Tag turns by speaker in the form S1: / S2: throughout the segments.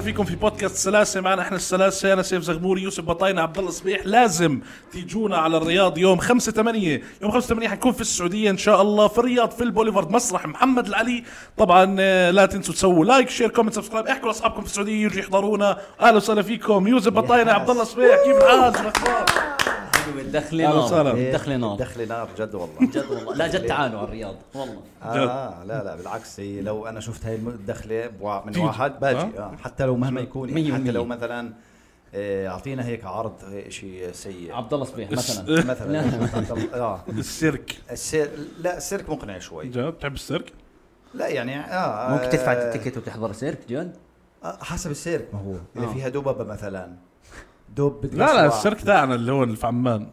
S1: فيكم في بودكاست سلاسه معنا احنا السلاسه انا سيف زغموري يوسف بطاينه عبد الله صبيح لازم تيجونا على الرياض يوم 5 8 يوم 5 8 حنكون في السعوديه ان شاء الله في الرياض في البوليفارد مسرح محمد العلي طبعا آه، لا تنسوا تسووا لايك شير كومنت سبسكرايب احكوا لاصحابكم في السعوديه يجوا يحضرونا اهلا وسهلا فيكم يوسف بطاينه عبد الله صبيح كيف الحال شو الاخبار
S2: دخلي
S1: أهلا
S2: نار
S1: وسهلا.
S2: دخلي نار
S3: إيه، دخلي نار جد والله
S2: جد والله لا جد تعالوا على الرياض والله
S3: آه لا لا بالعكس هي لو انا شفت هاي الدخله بوا- من
S1: تيجي.
S3: واحد باجي آه حتى لو مهما يكون
S2: مية
S3: يعني حتى
S2: بالمية.
S3: لو مثلا آه، اعطينا هيك عرض شيء سيء
S2: عبد الله صبيح مثلا
S3: مثلا اه
S1: السيرك
S3: السير لا السيرك مقنع شوي
S1: جاب بتحب السيرك
S3: لا يعني اه
S2: ممكن تدفع
S3: آه،
S2: التيكت وتحضر سيرك جون
S3: آه، حسب السيرك ما هو اذا
S2: آه.
S3: فيها دببه مثلا دب بدك
S1: لا لا
S3: أسمع.
S1: السيرك تاعنا اللي هو اللي في عمان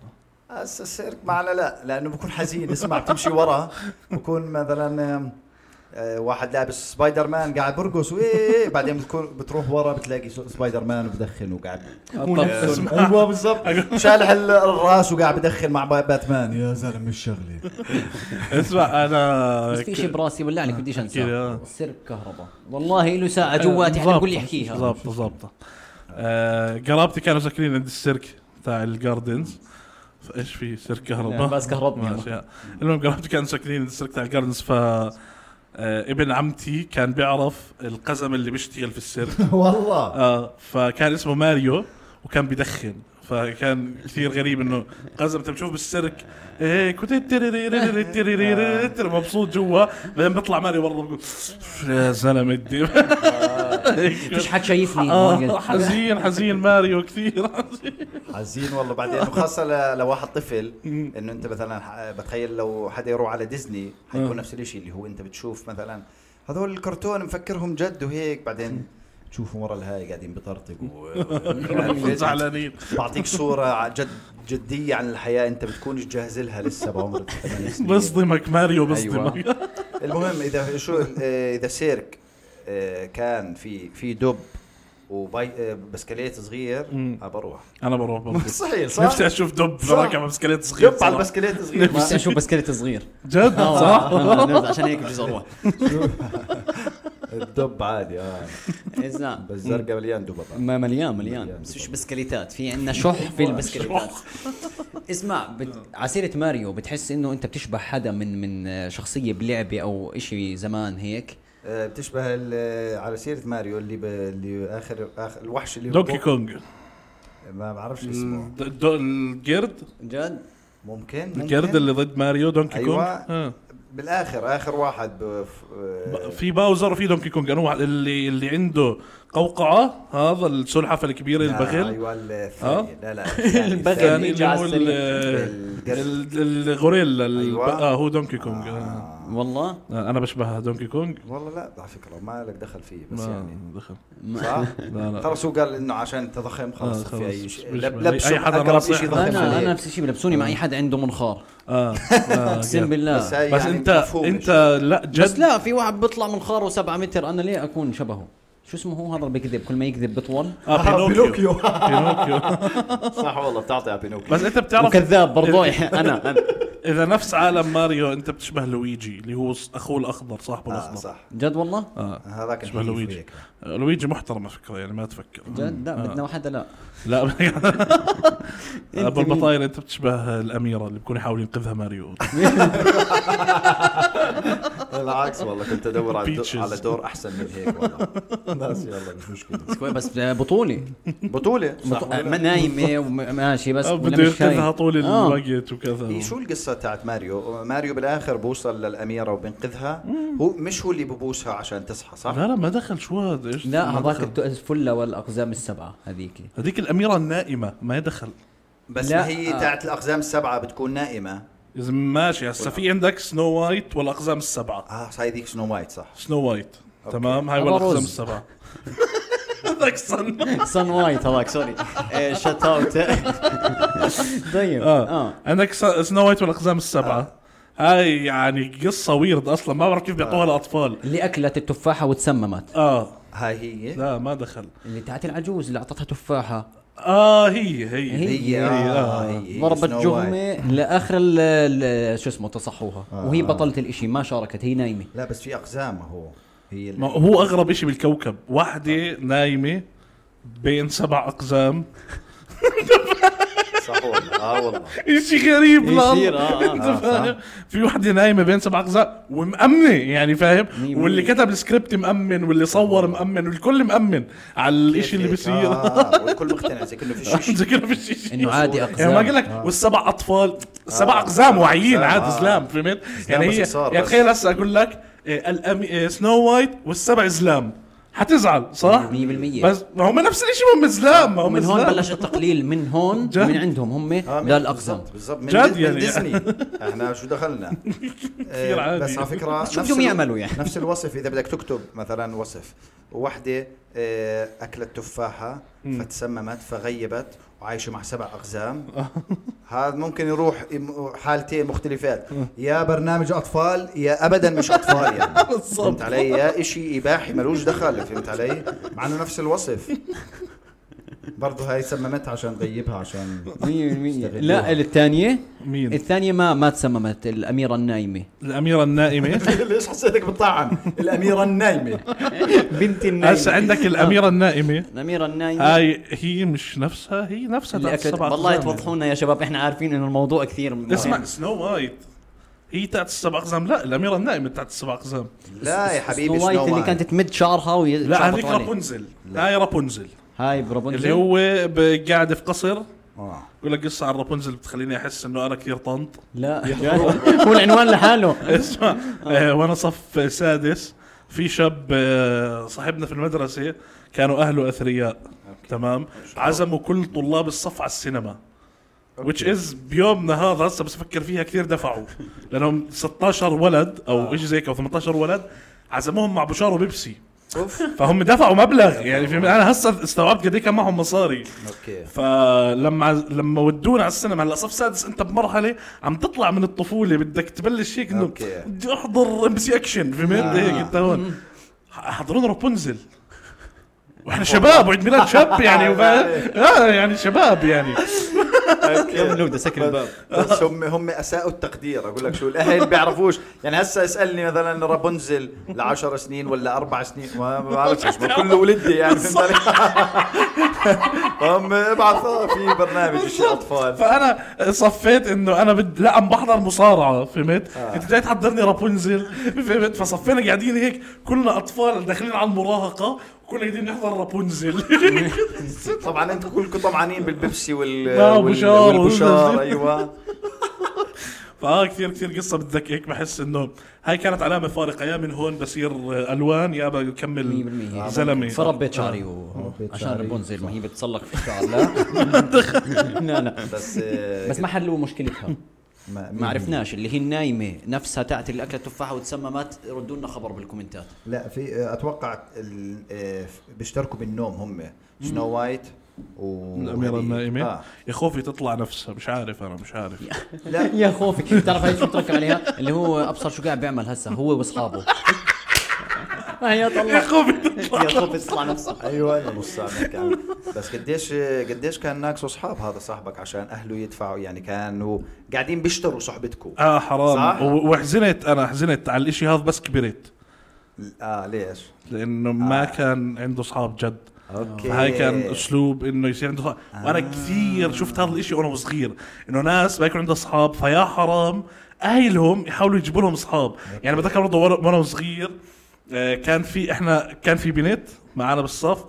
S3: آه، السيرك معنا لا لانه بكون حزين اسمع بتمشي وراه بكون مثلا آم، آه، واحد لابس سبايدر مان قاعد برقص وإيه إيه، بعدين بتكون بتروح ورا بتلاقي سبايدر مان بدخن وقاعد
S2: طب
S3: ايوه بالضبط شالح ال- الراس وقاعد بدخن مع با- باتمان يا زلمه مش شغله
S1: اسمع انا
S2: بس في شيء براسي ولا عليك بديش
S1: أكيد، آه.
S2: انساه السيرك كهرباء والله له ساعه جواتي حتى
S1: ضابطة،
S2: الكل يحكيها
S1: ضابطه ضابطه آه، قرابتي كانوا ساكنين عند السيرك تاع الجاردنز فايش في سيرك
S2: لا،
S1: كهرباء
S2: بس كهربني
S1: ماشي، آه. المهم قرابتي كانوا ساكنين عند السيرك تاع الجاردنز ف آه، ابن عمتي كان بيعرف القزم اللي بيشتغل في السيرك
S3: والله
S1: آه فكان اسمه ماريو وكان بدخن فكان كثير غريب انه قزم انت بتشوف بالسيرك هيك وتتريريريريريريريريريريريريريريريريريريريري مبسوط جوا بعدين بيطلع ماريو برا بيقول يا زلمه الدم
S2: مش حد شايفني
S1: آه، حزين حزين ماريو كثير
S3: يعني
S1: حزين.
S3: حزين والله بعدين وخاصه ل- لواحد طفل انه انت مثلا ح- بتخيل لو حدا يروح على ديزني حيكون نفس الشيء اللي هو انت بتشوف مثلا هذول الكرتون مفكرهم جد وهيك بعدين تشوفهم ورا الهاي قاعدين بطرطقوا
S1: زعلانين
S3: بعطيك صوره ع- جد جديه عن الحياه انت بتكونش جاهز لها لسه بعمر الثمان سنين
S1: بصدمك ماريو
S2: أيوة.
S1: بصدمك
S3: المهم اذا شو آه، اذا سيرك آه، كان في في دب وباي آه، بسكليت صغير آه، بروح
S1: انا بروح بروح
S3: مستحيل صح؟
S1: نفسي اشوف دب
S3: صح.
S1: راكب على بسكليت صغير
S3: دب على
S1: صراحة.
S3: البسكليت صغير
S2: بس اشوف بسكليت صغير آه.
S1: جد آه.
S3: آه.
S1: صح
S2: عشان هيك بجوز اروح
S3: الدب عادي اه
S2: إزاي؟
S3: بس زرقاء مليان دب طبعاً.
S2: ما مليان مليان
S3: مليان.
S2: بس مش بسكليتات في عندنا شح في البسكليتات اسمع
S3: آه.
S2: بت... عسيرة ماريو بتحس انه انت بتشبه حدا من من شخصية بلعبة او اشي زمان هيك
S3: آه، بتشبه ال- آه، على سيره ماريو اللي ب... اللي اخر اخر الوحش اللي
S1: دونكي كونج
S3: ما بعرفش اسمه
S1: د- د- القرد
S2: جد
S3: ممكن ممكن
S1: القرد اللي ضد ماريو دونكي كونج
S3: أيوة.
S1: آه.
S3: بالاخر اخر واحد ب... ف- آه،
S1: في باوزر وفي دونكي كونج انا واحد اللي اللي عنده قوقعه هذا السلحفه الكبيره البغل
S3: ايوه الثاني لا لا
S2: البغل.
S3: الثاني.
S1: الثاني اللي
S2: يجي
S1: هو
S2: على
S1: ال-
S3: السرير.
S1: ال- الغوريلا ال-
S3: أيوة.
S1: اه هو دونكي كونج آه.
S2: والله
S1: آه، انا بشبه دونكي كونج
S3: والله لا على فكره ما لك دخل فيه بس يعني
S1: ما دخل
S3: صح؟
S1: لا لا
S3: خلص هو قال انه عشان انت ضخم خلص
S1: آه،
S3: في
S1: خلص.
S3: اي شيء
S1: مش-
S3: لب-
S1: أي-
S3: لبسه
S1: أي حدا
S3: اقرب
S1: ناصح
S3: شيء ضخم
S2: انا انا
S3: عليه
S2: نفس الشيء بلبسوني مع اي حد عنده منخار
S1: اه آه،
S2: اقسم
S3: آه. بس
S2: بالله
S3: هاي
S1: بس
S3: يعني
S1: انت
S3: مفهوم
S1: انت
S3: شوي.
S1: لا
S2: بس
S1: جد
S2: لا في واحد بيطلع منخاره سبعة متر انا ليه اكون شبهه شو اسمه هو هذا اللي بيكذب كل ما يكذب بطول
S1: آه،
S3: آه،
S1: بينوكيو
S3: بينوكيو.
S1: بينوكيو
S3: صح والله بتعطي على بينوكيو
S1: بس انت بتعرف
S2: وكذاب برضو انا أنا.
S1: اذا نفس عالم ماريو انت بتشبه لويجي اللي هو اخوه الاخضر صاحبه
S3: آه
S1: الاخضر
S3: صح
S2: جد والله
S1: اه
S3: هذاك
S1: شبه
S3: الحليف
S1: لويجي
S3: هيك.
S1: لويجي محترم على فكره يعني ما تفكر
S2: جد لا
S1: آه.
S2: بدنا حدا لا
S1: لا آه، ابو
S2: مين؟
S1: البطاير انت بتشبه الاميره اللي بكون يحاول ينقذها ماريو
S3: بالعكس إيه، والله كنت ادور على دو-
S1: Peaches.
S3: على دور احسن من هيك والله ناس يلا مش مشكله
S2: بس آه، بطولة
S3: بطوله صح
S2: بط-
S3: ولا
S2: ما
S3: لا؟
S2: نايمة وماشي بس
S1: آه،
S2: ولا
S1: بده
S2: مش
S1: ينقذها
S2: هاي.
S1: طول
S2: آه.
S1: الوقت وكذا
S3: هي إيه، شو القصه تاعت ماريو ماريو بالاخر بوصل للاميره وبينقذها هو مش هو اللي ببوسها عشان تصحى صح
S1: لا لا ما دخل شو هذا ايش
S2: لا
S1: ما
S2: هذاك
S1: دخل.
S2: الت- الفلة والأقزام السبعة هذيك
S1: هذيك الاميره النائمه ما دخل
S3: بس
S2: لا.
S3: هي
S2: آه.
S3: تاعت الاقزام السبعه بتكون نائمه
S1: اذا ماشي هسه في عندك سنو وايت والاقزام السبعه
S3: اه هاي ذيك سنو وايت صح
S1: سنو وايت
S3: أوكي.
S1: تمام هاي
S2: أبو
S1: والاقزام
S2: رز.
S1: السبعه هذاك صن
S2: سن وايت هذاك سوري
S1: إيه،
S2: شت اوت طيب
S1: اه
S2: اه
S1: عندك س- سنو وايت والاقزام السبعه هاي يعني قصه ويرد اصلا ما بعرف كيف بيعطوها الاطفال
S2: اللي أكلت التفاحة وتسممت
S1: اه
S3: هاي هي
S1: لا ما دخل
S2: اللي تاعت العجوز اللي أعطتها تفاحة
S1: اه هي هي,
S2: هي.
S1: آه.
S3: هي.
S2: ضربت
S3: إيه، Snow White. آه.
S2: جهمة لآخر ال- ال- شو اسمه تصحوها وهي بطلة الإشي ما شاركت هي نايمة
S3: لا بس في اقزام هو هي
S1: ما هو اغرب شيء بالكوكب واحده نايمه بين سبع اقزام
S3: صح والله اه والله
S1: إيه شيء غريب لا
S2: يصير، آه، آه،
S1: انت
S3: إيه آه،
S1: فاهم في وحده نايمه بين سبع اقزام ومأمنه يعني فاهم
S2: مية مية.
S1: واللي كتب السكريبت مأمن واللي صور مأمن والكل مأمن على الشيء اللي
S3: آه. هيك،
S1: بيصير
S3: آه، والكل مقتنع زي كانه في شيء
S1: زي كده في شيء
S2: انه عادي
S1: يعني ما اقول
S2: اقزام
S1: لك والسبع اطفال السبع
S3: آه.
S1: اقزام واعيين
S3: أقزام،
S1: عادي
S3: آه.
S1: زلام فهمت؟ يعني
S3: بس
S1: هي
S3: صار
S1: يعني
S3: بس.
S1: تخيل هسه اقول لك آه، الأم... آه، سنو وايت والسبع زلام حتزعل صح؟
S2: 100%
S1: بس ما هم نفس الشيء هم زلام ما هم
S2: من هون
S1: زلام.
S2: بلش التقليل من هون
S1: جد.
S2: من عندهم هم
S3: آه، من-
S2: للاقزام
S3: بالضبط- بالضبط من
S1: جد
S3: جد
S1: يعني.
S3: يعني ديزني احنا شو دخلنا كثير
S1: عادي.
S3: بس على فكره
S2: بس شو
S3: نفس
S2: بدهم
S3: ال-
S2: يعملوا يعني؟
S3: نفس الوصف اذا بدك تكتب مثلا وصف وحده آه، اكلت تفاحه فتسممت فغيبت وعايشه مع سبع اقزام هذا ممكن يروح إم- حالتين مختلفات يا برنامج اطفال يا ابدا مش اطفال يعني فهمت علي يا شيء اباحي ملوش دخل فهمت علي مع انه نفس الوصف برضه هاي سممتها عشان تغيبها عشان
S2: 100% لا الثانيه
S1: مين؟
S2: الثانيه ما ما تسممت الاميره النايمه
S1: الاميره النائمه
S3: ليش حسيتك بتطعن الاميره النايمه
S2: بنت
S1: هسه
S3: آه.
S1: عندك الاميره النائمه
S2: الاميره النايمه
S1: هاي هي مش نفسها هي نفسها
S2: اللي
S1: تاعت
S2: اكلت
S1: السبع
S2: والله
S1: أقزام.
S2: توضحوا لنا يا شباب احنا عارفين انه الموضوع كثير
S1: اسمع سنو وايت هي تاعت السبع اقزام لا الاميره النائمه تاعت السبع اقزام
S3: لا يا حبيبي
S2: سنو وايت اللي
S3: وايت.
S2: كانت تمد
S1: لا
S2: شعرها ويتشعبط
S1: هذيك
S2: عليه
S1: رابونزل هاي رابونزل
S2: هاي برابونزل
S1: اللي هو ب- قاعده في قصر
S3: آه.
S1: يقول لك قصه عن رابونزل بتخليني احس انه انا كثير طنط
S2: لا هو العنوان لحاله
S1: اسمع آه، وانا صف سادس في شاب آه، صاحبنا في المدرسه كانوا اهله اثرياء تمام عزموا كل طلاب الصف على السينما which is بيومنا هذا هسه بس افكر فيها كثير دفعوا لانهم 16 ولد او شيء زي هيك او 18 ولد عزموهم مع بشار وبيبسي
S3: اوف
S1: فهم دفعوا مبلغ يعني في انا هسه استوعبت قد ايه كان معهم مصاري
S3: اوكي
S1: فلما لما ودونا على السينما هلا صف سادس انت بمرحله عم تطلع من الطفوله بدك تبلش هيك انه
S3: أوكي.
S1: بدي احضر ام سي اكشن فهمت
S3: آه.
S1: هيك انت هون حضرونا رابونزل واحنا شباب وعيد ميلاد شاب يعني وفا- اه يعني شباب يعني
S2: يوم نبدا سكر الباب
S3: بس هم هم اساءوا التقدير اقول لك شو الاهل بيعرفوش يعني هسه اسالني مثلا رابنزل ل 10 سنين ولا اربع سنين ما ما بعرفش ما كله ولدي يعني فهمت علي؟ هم ابعث آه، في برنامج شيء اطفال
S1: فانا صفيت انه انا بد... لا عم بحضر مصارعه فهمت؟ آه. انت جاي تحضرني رابونزل فهمت؟ فصفينا قاعدين هيك كلنا اطفال داخلين على المراهقه وكلنا قاعدين نحضر رابونزل
S3: طبعا انتم كلكم طمعانين بالبيبسي وال
S1: لا،
S3: وال-
S1: وبشار
S3: والبشار
S1: والنزل.
S3: ايوه
S1: فاه كثير كثير قصه بدك هيك بحس انه هاي كانت علامه فارقه يا من هون بصير الوان يا بكمل
S2: 100%
S3: آه،
S1: زلمه
S2: فربيت شعري و... عشان رابونزل ما هي بتسلق في الشعر لا لا لا
S3: بس آه،
S2: بس ما حلوا مشكلتها
S3: ما
S2: ما عرفناش اللي هي النايمه نفسها تاعت اللي اكلت تفاحه وتسممت ردوا لنا خبر بالكومنتات
S3: لا في اتوقع ال- آه، بيشتركوا بالنوم هم سنو وايت و
S1: الاميره النائمه
S3: آه.
S1: آه. يا خوفي تطلع نفسها مش عارف انا مش عارف
S3: لا
S2: يا خوفك بتعرف هاي شو بتركب عليها اللي هو ابصر شو قاعد بيعمل هسه هو واصحابه يا
S1: يا
S2: طلع
S1: خوفي تطلع
S2: يا خوف اطلع نفسك
S3: ايوه انا نص ساعه كان بس قديش قديش كان ناقص اصحاب هذا صاحبك عشان اهله يدفعوا يعني كانوا قاعدين بيشتروا صحبتكم
S1: اه حرام
S3: صح؟
S1: و- وحزنت انا حزنت على الاشي هذا بس كبرت
S3: اه ليش؟
S1: لانه
S3: آه.
S1: ما كان عنده اصحاب جد
S3: اوكي
S1: هاي كان اسلوب انه يصير عنده صح... وانا كثير شفت هذا الاشي وانا صغير انه ناس ما يكون عندها اصحاب فيا حرام اهلهم يحاولوا يجيبوا لهم اصحاب يعني بتذكر برضه وانا وأنا صغير آه، كان في احنا كان في بنت معانا بالصف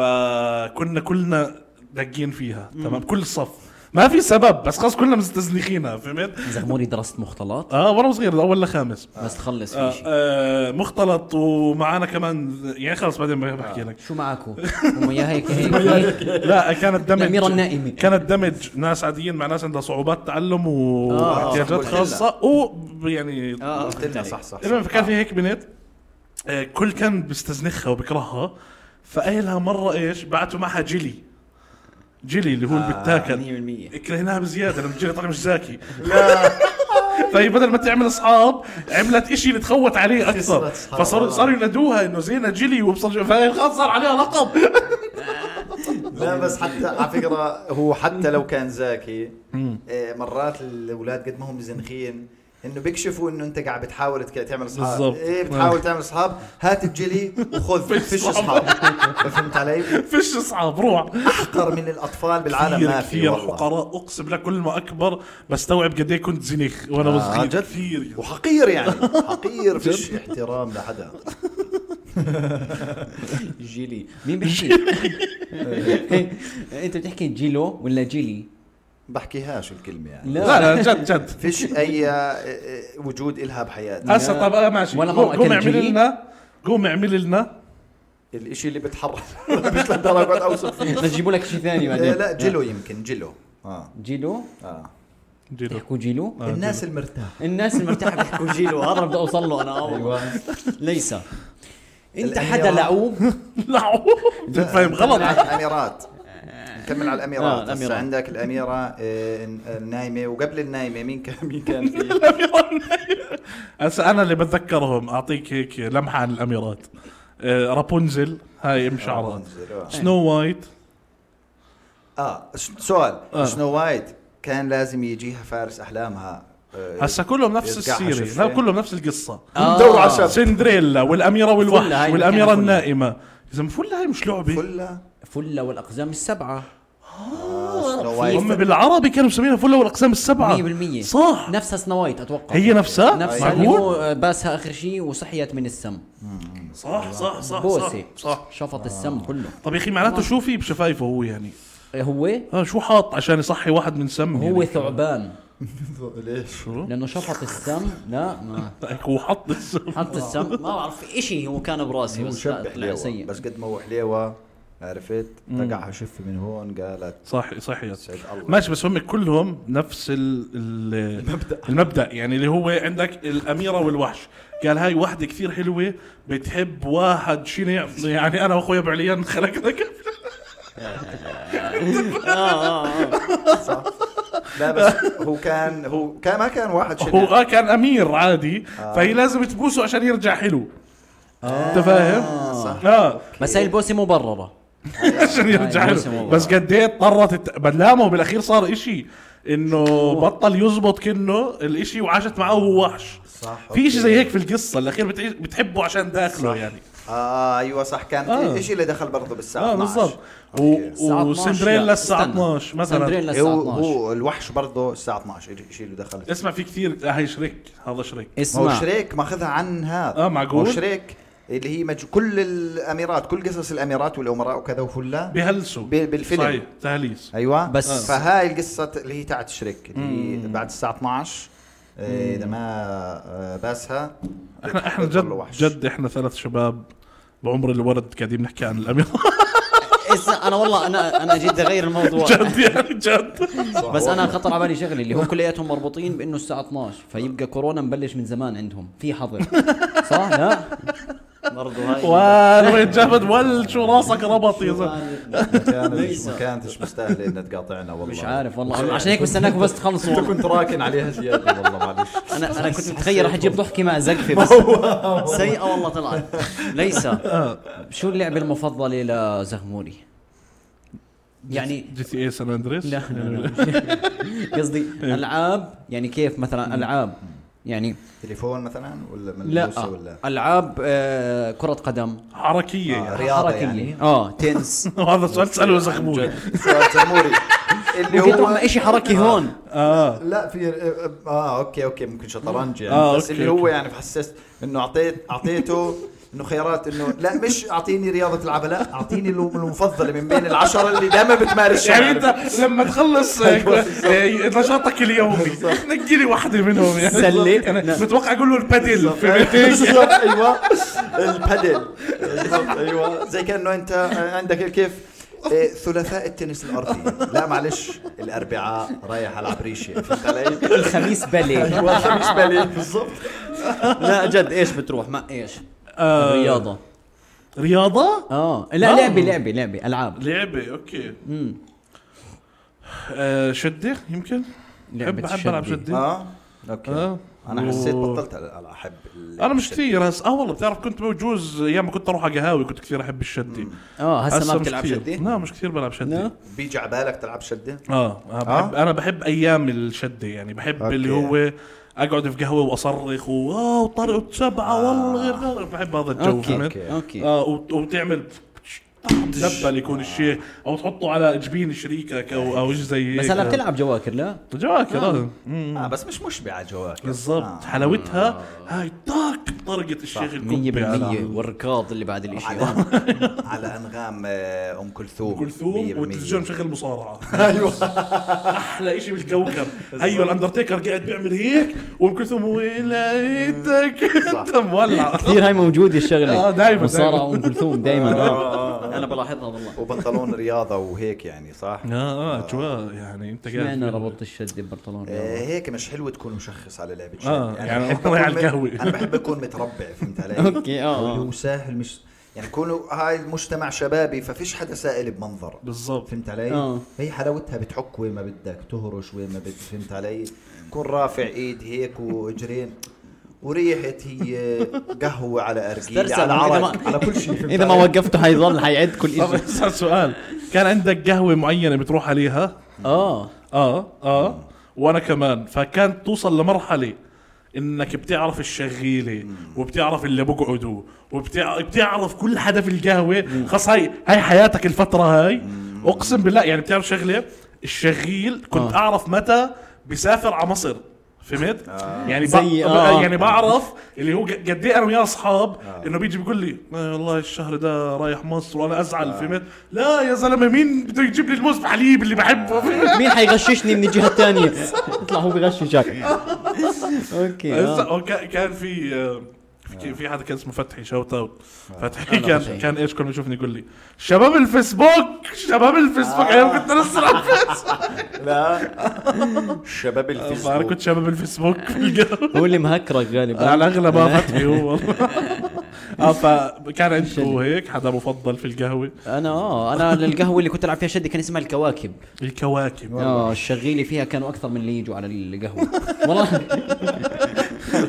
S1: فكنا كلنا دقين فيها تمام كل الصف ما في سبب بس خلاص كلنا مستزنخينها فهمت
S2: زغموري درست مختلط
S1: اه وانا صغير اول لخامس
S2: بس تخلص في
S1: آه
S2: شيء
S1: آه مختلط ومعانا كمان يعني خلص بعدين بحكي لك
S2: شو معكم؟ هم يا هيك هيك هيك.
S1: لا كانت دمج
S2: الأميرة النائمة.
S1: كانت دمج ناس عاديين مع ناس عندها صعوبات تعلم
S2: آه.
S1: واحتياجات
S3: صح،
S1: خاصة ويعني
S2: اه
S3: قلت لنا صح صح
S1: المهم
S3: صح.
S1: فكان في هيك بنت آه، كل كان بيستزنخها وبكرهها فأهلها مرة ايش بعتوا معها جيلي جيلي اللي هو
S3: آه،
S1: اللي
S3: يعني
S1: بتاكل
S2: 100%
S1: كرهناها بزيادة لأنه الجيلي طلع مش زاكي فهي بدل ما تعمل اصحاب عملت اشي بتخوت عليه اكثر
S3: خسرت أصحاب.
S1: فصاروا صاروا ينادوها انه زينة جيلي وابصر شو- فهي خلاص صار عليها لقب
S3: لا بس حتى على فكره هو حتى لو كان زاكي آه، مرات الاولاد قد ما هم زنخين انه بيكشفوا انه انت قاعد بتحاول تك- تعمل اصحاب
S1: بالضبط.
S3: ايه بتحاول
S1: آه.
S3: تعمل اصحاب هات الجيلي وخذ فيش اصحاب فهمت علي؟
S1: فيش اصعب روح
S3: احقر من الاطفال بالعالم
S1: كثير
S3: ما في
S1: كثير
S3: والله.
S1: حقراء اقسم لك كل ما اكبر بستوعب قد ايه كنت زنيخ وانا
S3: آه،
S1: صغير
S3: جد.
S1: كثير
S3: وحقير يعني حقير فيش احترام لحدا
S2: جيلي مين بيحكي؟ إيه، انت بتحكي جيلو ولا جيلي؟
S3: بحكيهاش الكلمه يعني
S2: لا
S1: لا لا جد جد
S3: فيش اي آه، آه، وجود إلها بحياتي
S1: هسه طب آه، ماشي
S2: ولا
S1: قوم
S2: مرة
S1: قوم
S2: أكلت
S1: اعمل
S2: جيلي؟
S1: لنا قوم اعمل لنا
S3: الاشي اللي بتحرك مش لدرجه اوصف فيه
S2: بدنا نجيبوا لك شيء ثاني
S3: إيه،
S2: بعدين
S3: لا جلو يمكن جلو اه
S2: جيلو
S3: اه
S1: جيلو
S2: بيحكوا جيلو
S3: الناس المرتاحه
S2: الناس المرتاحه بيحكوا جيلو هذا بدي اوصل له انا اول ليس انت حدا
S3: الأميرات.
S2: لعوب
S1: لا فاهم غلط
S3: نكمل على الاميرات نكمل على
S2: آه،
S3: الاميرات
S2: الأميرات.
S3: هسه عندك الاميره آه، النايمه وقبل النايمه مين كان مين كان في
S1: هسه انا اللي بتذكرهم اعطيك هيك لمحه عن الاميرات آه، رابونزل هاي ام شعرها
S3: إيه.
S1: سنو وايت
S3: اه ش- سؤال
S1: آه.
S3: سنو وايت كان لازم يجيها فارس احلامها آه،
S1: هسه كلهم نفس
S3: يرجعها
S1: السيره
S3: شفة.
S1: لا، كلهم نفس القصه
S2: آه.
S3: ندور على شاب
S1: سندريلا والاميره والوحش
S2: فلة هاي
S1: والاميره
S2: مكانها فلة.
S1: النائمه يا زلمه فلة هاي مش لعبه
S3: كلها
S2: فلة والاقزام السبعه
S3: سنو
S2: آه. في- أمم.
S3: وايت
S1: هم بالعربي كانوا مسمينها فلة والاقسام السبعه
S2: 100%
S1: صح
S2: نفسها سنو وايت اتوقع
S1: هي نفسها
S2: نفسها اللي
S1: معقول
S2: هو باسها اخر شيء وصحيت من السم
S1: صح صح صح
S2: بوسه
S1: صح, صح.
S2: شفط السم كله إيه
S1: طب يا اخي معناته شو في بشفايفه هو يعني
S2: هو
S1: آه شو حاط عشان يصحي واحد من سم
S2: هو
S1: يعني.
S2: ثعبان
S3: ليش
S2: لانه شفط السم لا ما
S1: هيك هو حط السم
S2: حط السم ما بعرف شيء هو كان براسي بس لا،
S3: مشبه
S2: طلع
S3: حليوه
S2: سيء
S3: بس قد ما هو حليوه عرفت رجعها شفه من هون قالت
S1: صح صحيت
S3: سعد الله.
S1: ماشي بس هم كلهم نفس ال ال المبدا المبدا يعني اللي هو عندك الاميره والوحش قال هاي واحدة كثير حلوة بتحب واحد شنع يعني انا واخويا بعليا خلقنا كيف
S2: آه،
S3: لا بس هو كان هو كان ما كان واحد
S1: هو
S3: شنع
S1: آه كان امير عادي
S3: آه.
S1: فهي لازم تبوسه عشان يرجع حلو انت فاهم؟
S3: صح. آه،
S1: اه
S2: بس هاي البوسه مبرره
S1: عشان يرجع
S2: هاي موسم
S1: حلو
S2: والله.
S1: بس قد ايه اضطرت الت- بلامه بالاخير صار اشي انه بطل يزبط كنه الاشي وعاشت معه وهو وحش
S3: صح،
S1: في اشي
S3: أوكي.
S1: زي هيك في القصه الاخير بتعي- بتحبه عشان داخله يعني
S3: اه ايوه صح كان
S1: آه.
S3: آه. شيء اللي دخل برضه بالساعه
S1: اه
S3: 12.
S1: بالضبط
S3: أوكي.
S2: الساعة 12
S1: وسندريلا
S2: لا،
S1: الساعه
S2: استنى.
S1: 12 مثلا
S2: سندريلا الساعه
S3: هو
S2: 12
S3: هو الوحش برضه الساعه 12 شيء اللي دخل
S1: اسمع في كثير آه، هاي شريك هذا شريك
S3: ما هو
S2: اسمع
S3: شريك ماخذها عن هذا
S1: آه، معقول؟
S3: هو شريك اللي هي مج... كل الاميرات كل قصص الاميرات والامراء وكذا وفلا
S1: بهلسوا
S3: ب- بالفيلم.
S1: صحيح تهليس
S3: ايوه
S2: بس-
S3: فهاي القصه اللي هي تاعت شريك اللي هي بعد الساعه 12 آه، اذا ما آه، باسها
S1: احنا احنا
S3: بتضل
S1: جد
S3: وحش.
S1: جد احنا ثلاث شباب بعمر الولد قاعدين نحكي عن الامير
S2: اسمع انا والله انا انا جيت اغير الموضوع
S1: جد يعني جد
S2: بس انا خطر على بالي شغله اللي هم كلياتهم مربوطين بانه الساعه 12 فيبقى كورونا مبلش من زمان عندهم في حظر صح لا برضه هاي
S1: وين وين جابت ول شو راسك ربط يا زلمه
S3: كانت
S2: ليس.
S3: ما كانتش مستاهله انها تقاطعنا والله
S2: مش عارف والله أنا عشان هيك بستناك بس تخلصوا
S3: انت
S2: والله.
S3: كنت راكن عليها زياده والله معلش
S2: انا انا كنت متخيل رح تجيب ضحكه مع زقفه بس سيئه والله طلعت ليس شو اللعبه المفضله لزغموري يعني
S1: جي تي اي سان اندريس
S2: لا لا، لا. قصدي العاب يعني كيف مثلا العاب يعني
S3: تليفون مثلا ولا من
S2: لا
S3: البوسة ولا
S2: العاب آه، كرة قدم
S1: حركيه
S3: آه،
S1: يعني
S3: رياضة
S2: حركية.
S3: يعني.
S2: اه تنس
S1: هذا سؤال تساله زخموري
S3: سؤال زموري اللي
S2: ممكن تروح
S3: هو آه.
S2: مع شيء حركي هون
S1: اه
S3: لا في اه اوكي اوكي ممكن شطرنج يعني
S1: آه،
S3: آه بس
S1: أوكي،
S3: اللي هو
S1: أوكي.
S3: يعني حسست انه اعطيت اعطيته انه خيارات انه لا مش اعطيني رياضه العبها لا اعطيني الم- المفضله من بين العشره اللي دائما بتمارسها
S1: يعني انت لما تخلص آه، آه، نشاطك اليومي نقي لي واحده منهم يعني
S2: سلة.
S1: انا
S2: نعم.
S1: متوقع اقول له البادل في بيتي.
S3: بالضبط ايوه البادل بالضبط، ايوه زي كانه انت عندك كيف إيه، ثلاثاء التنس الارضي لا معلش الاربعاء رايح العب ريشه فهمت علي؟
S2: الخميس بالي
S3: ايوه خميس بالي بالضبط
S2: لا جد ايش بتروح ما ايش
S1: آه،
S2: رياضة
S1: رياضه
S2: اه لا
S1: آه.
S2: لعبة لعبة لعبة العاب
S1: لعبه اوكي آه، شده يمكن بحب
S2: لعبة
S1: بحب العب
S2: الشدة.
S1: شده
S3: اه اوكي
S1: آه.
S3: انا حسيت
S1: و-
S3: بطلت ألعب- احب ال-
S1: انا مش
S3: الشد.
S1: كثير هسه اه والله بتعرف كنت بجوز ايام ما كنت اروح على قهاوي كنت كثير احب الشده
S2: اه هسه
S1: هسه
S2: ما
S1: مش
S2: بتلعب
S1: كثير.
S2: شدة
S1: لا مش كثير بلعب آه، شده
S2: لا؟
S3: بيجي على بالك تلعب شده
S1: اه أنا بحب انا بحب ايام الشده يعني بحب
S3: أوكي.
S1: اللي هو اقعد في قهوه واصرخ واو طرق سبعه آه، والله غير نار. بحب هذا الجو
S2: أوكي.
S1: فهمت؟
S2: أوكي.
S1: اه وت- وتعمل دبل يكون الشيخ او تحطه على جبين شريكك او او شيء زي هيك
S2: بس هلا بتلعب جواكر لا
S1: جواك آه.
S3: اه بس مش مشبعه جواك
S1: بالضبط آه. حلاوتها هاي طاق طرقه الشيخ الكبي على
S2: 100% والركاض اللي بعد الاشي
S3: على على انغام آه، ام كلثوم
S1: كلثوم
S3: 100%.
S1: والتلفزيون مشغل مصارعه
S3: ايوه
S1: احلى شيء بالكوكب ايوه الاندرتيكر قاعد بيعمل هيك وام كلثوم ويليتك انت مولع
S2: كثير هاي موجوده الشغله
S1: آه، دايماً،
S2: مصارعه
S1: دايماً.
S2: ام كلثوم دائما انا آه، بلاحظها والله
S3: وبنطلون رياضه وهيك يعني صح
S1: اه اه اجواء يعني انت قاعد
S2: اشمعنى ربطت الشد ببنطلون
S3: آه،
S2: رياضة؟
S3: هيك مش حلو تكون مشخص على لعبه
S1: آه،
S3: شيء.
S1: يعني
S3: بحب
S1: الله
S3: أكون
S1: على
S3: مت-
S1: القهوة.
S3: انا بحب اكون متربع فهمت علي
S2: أوكي، آه، آه.
S3: هو ساهل مش يعني كونوا هاي المجتمع شبابي ففيش حدا سائل بمنظر
S1: بالضبط
S3: فهمت علي؟
S2: آه.
S3: هي حلاوتها بتحك وين ما بدك تهرش وين ما بدك فهمت علي؟ كون رافع ايد هيك واجرين وريحة هي قهوة على أرجيلة
S2: استرسل
S3: على
S2: إذا ما-
S3: عرق على كل شيء فهمت
S2: اذا ما
S3: علي؟
S2: وقفته حيضل حيعد كل
S1: طب
S2: شيء
S1: اسال سؤال كان عندك قهوه معينه بتروح عليها
S2: اه
S1: اه اه وانا كمان فكانت توصل لمرحله انك بتعرف الشغيله وبتعرف اللي بقعدوا وبتعرف كل حدا في القهوه خلاص هاي هاي حياتك الفتره هاي اقسم بالله يعني بتعرف شغله الشغيل كنت
S2: آه.
S1: اعرف متى بيسافر على مصر فهمت؟ يعني بع-
S2: زي- آه.
S1: يعني بعرف اللي هو ج- قد ايه انا وياه اصحاب انه بيجي بيقول لي "آه والله الشهر ده رايح مصر وانا ازعل فهمت؟ لا يا زلمه مين بده يجيب لي الموز بحليب اللي بحبه فهمت؟
S2: مين حيغششني من الجهه الثانيه يطلع هو بغششك اوكي
S1: هسا
S2: آه.
S1: هو كا- كان في آه، في في حدا كان اسمه فتحي شوت
S2: آه.
S1: اوت فتحي كان كان ايش كان يشوفني يقول لي شباب الفيسبوك شباب الفيسبوك
S2: آه.
S1: ايام كنت لسه على الفيسبوك
S3: لا شباب الفيسبوك
S1: فانا كنت شباب الفيسبوك بالقهوة.
S2: آه، هو اللي مهكرك غالبا
S1: على الاغلب آه، فتحي هو اه فكان عنده هيك حدا مفضل في القهوه
S2: انا اه انا القهوه اللي كنت العب فيها شدي كان اسمها الكواكب
S1: الكواكب
S2: اه الشغيلة فيها كانوا اكثر من اللي يجوا على القهوه والله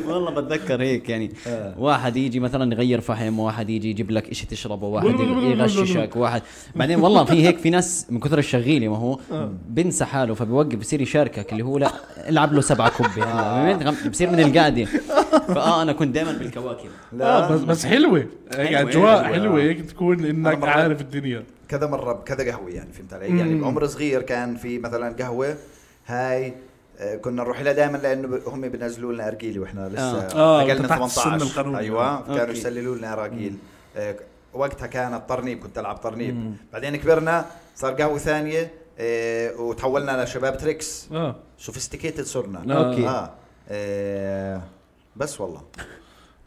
S2: والله بتذكر هيك يعني واحد يجي مثلا يغير فحم واحد يجي يجيب لك شيء تشربه واحد يغششك واحد بعدين والله في هيك في ناس من كثر الشغيلة ما هو بنسى حاله فبيوقف بصير يشاركك اللي هو لا العب له سبعة كوب هلا فهمت؟ بصير من القعده فاه انا كنت دائما بالكواكب
S1: اه بس بس حلوه هيك
S2: حلوة،
S1: اجواء
S2: حلوة.
S1: حلوه هيك تكون انك
S3: مرة-
S1: عارف الدنيا
S3: كذا مره بكذا قهوه يعني فهمت علي؟ يعني بعمر صغير كان في مثلا قهوه هاي آه، كنا نروح لها دائما لانه ب- هم بينزلوا لنا ارجيله واحنا لسه
S1: آه،
S3: آه. اقلنا
S1: أنت تحت آه، السن
S3: 18
S1: القانوني.
S3: ايوه
S2: أوكي.
S3: كانوا يسللوا لنا اراجيل آه، وقتها كانت طرنيب كنت العب طرنيب بعدين كبرنا صار قهوه ثانيه آه، وتحولنا لشباب تريكس
S1: اه
S3: سوفيستيكيتد صرنا
S1: آه.
S2: اوكي
S3: آه. آه. بس والله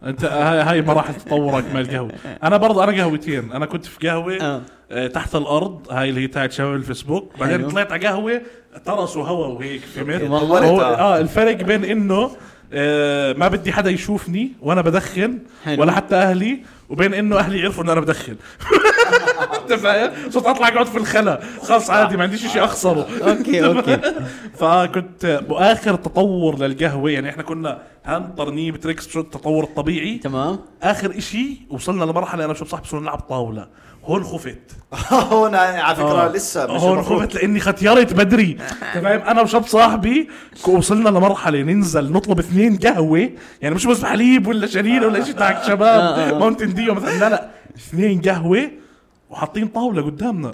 S1: انت هاي هاي مراحل تطورك مع القهوه انا برضه انا قهوتين انا كنت في قهوه
S2: آه.
S1: آه، تحت الارض هاي اللي هي تاعت شباب الفيسبوك بعدين
S2: حلو. إيه،
S1: طلعت على قهوه ترسوا هوا وهيك فهمت
S2: والله.
S1: هو-
S3: طورت،
S1: اه الفرق بين انه آه، ما بدي حدا يشوفني وانا بدخن
S2: حلو.
S1: ولا حتى اهلي وبين انه اهلي يعرفوا ان انا بدخن انت فاهم؟ صرت اطلع اقعد في الخلا خلص عادي ما عنديش شيء اخسره
S2: اوكي اوكي
S1: فكنت واخر تطور للقهوه يعني احنا كنا هم ترنيب تريكس شو التطور الطبيعي
S2: تمام
S1: اخر اشي وصلنا لمرحله انا وشب صاحبي صرنا نلعب طاوله هون خفت
S3: هون على فكره لسه مش
S1: آه. هون
S3: المفروض.
S1: خفت لاني ختيرت بدري أنت فاهم انا وشاب صاحبي ك- وصلنا لمرحله ننزل نطلب اثنين قهوه يعني مش بس حليب ولا شنينه ولا شيء تاعك
S2: آه،
S1: شباب
S2: آه.
S1: ماونتن ديو مثلا لا لا اثنين قهوه وحاطين طاوله قدامنا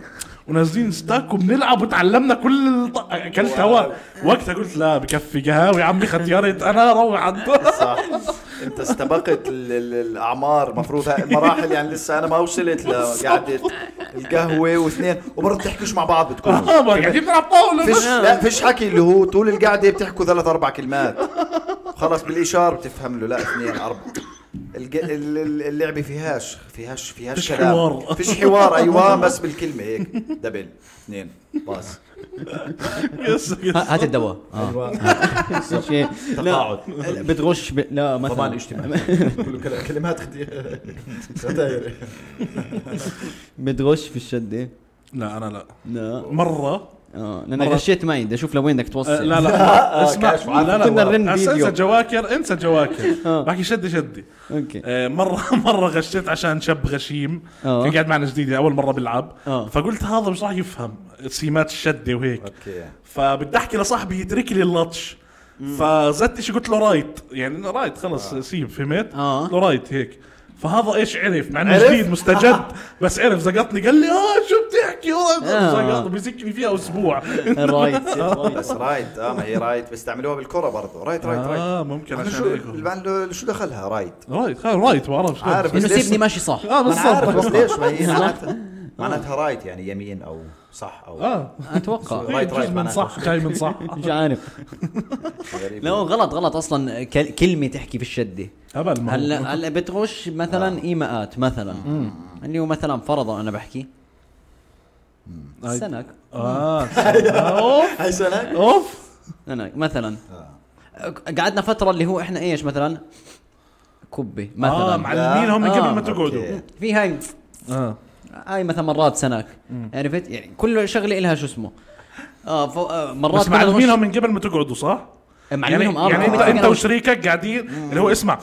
S1: ونازلين ستاك وبنلعب وتعلمنا كل الط... اكلت هوا وقتها قلت لا بكفي قهاوي عمي ختيرت انا روح عند
S3: صح انت استبقت ال- ال- الاعمار المفروض هاي المراحل يعني لسه انا ما وصلت لقعده القهوه واثنين وبرضه بتحكيش مع بعض بتكون
S1: آه، قاعدين نلعب طاوله
S3: فيش لا فيش حكي اللي هو طول القعده بتحكوا ثلاث اربع كلمات خلص بالاشاره بتفهم له لا اثنين اربع الج- ال- ال- اللعبه فيهاش فيهاش فيهاش
S1: فيش
S3: كلام
S1: حوار.
S3: فيش حوار ايوه بس بالكلمه هيك دبل اثنين باص
S1: يس- يس.
S2: ه- هات الدواء آه. شيء
S3: تقاعد.
S2: لا بتغش ب... لا مثلا
S3: طبعا اجتماعي كله كلام- كلمات خدي- ستاير
S2: بتغش في إيه؟ الشده
S1: لا انا لا
S2: لا
S1: مره
S2: اه لان غشيت معي بدي اشوف لوين بدك توصل
S1: آه، لا لا
S3: آه،
S1: اسمع
S3: كاشف عنه.
S1: لا لا
S2: كنا نرن
S1: أس-
S2: فيديو.
S1: انسى جواكر انسى جواكر
S2: آه.
S1: بحكي شدي شدي
S2: اوكي
S1: آه، مرة مرة غشيت عشان شاب غشيم
S2: آه.
S1: كان قاعد معنا جديد أول مرة بيلعب
S2: آه.
S1: فقلت هذا مش راح يفهم سمات الشدة وهيك
S3: اوكي
S1: فبدي أحكي لصاحبي يترك لي اللطش فزتش قلت له رايت يعني انه رايت خلص سيب فهمت؟
S2: آه.
S1: قلت له رايت هيك فهذا ايش عرف مع انه
S3: عرف؟
S1: جديد مستجد بس عرف زقطني قال لي اه شو بتحكي
S2: آه.
S1: زقط بيزكني فيها اسبوع
S2: رايت
S3: بس رايت اه ما هي رايت بيستعملوها بالكرة برضه رايت رايت رايت
S1: اه ممكن
S3: أنا
S1: عشان
S3: شو
S1: هيك
S3: البعل- شو دخلها رايت
S1: رايت خير رايت ما بعرفش
S3: عارف
S2: انه
S3: بس ليش-
S2: سيبني ماشي صح
S1: اه
S3: ما أنا عارف بس
S1: بالضبط
S3: ليش ما هي معناتها معناتها رايت يعني يمين او صح
S2: آه.
S3: او
S1: اه
S2: اتوقع
S3: رايت
S1: جزء
S3: رايت
S1: من
S3: معناتها
S1: صح جاي من صح
S2: مش عارف
S3: غريب.
S2: لا هو غلط غلط اصلا كل- كلمه تحكي في الشده
S1: هبل ما هو.
S2: هلا هلا بتغش مثلا ايماءات مثلا اللي هو مثلا فرضا انا بحكي
S1: هاي-
S2: سنك
S1: اه اوف
S3: هاي سنة
S1: اوف
S2: انا مثلا
S3: آه.
S2: قعدنا فتره اللي هو احنا ايش مثلا كبه
S1: اه
S2: مثلا
S1: معلمين هم من
S2: آه،
S1: قبل ما تقعدوا
S3: أوكي.
S2: في هاي
S1: اه
S2: هاي مثلا مرات سنك عرفت يعني كل شغله لها شو اسمه اه, ف... آه مرات
S1: بس
S2: كنا نغش-
S1: معلمينهم من قبل ما تقعدوا صح؟
S2: معلمينهم
S1: يعني, يعني
S2: آه،
S1: انت
S2: آه.
S1: انت وشريكك قاعدين اللي هو اسمع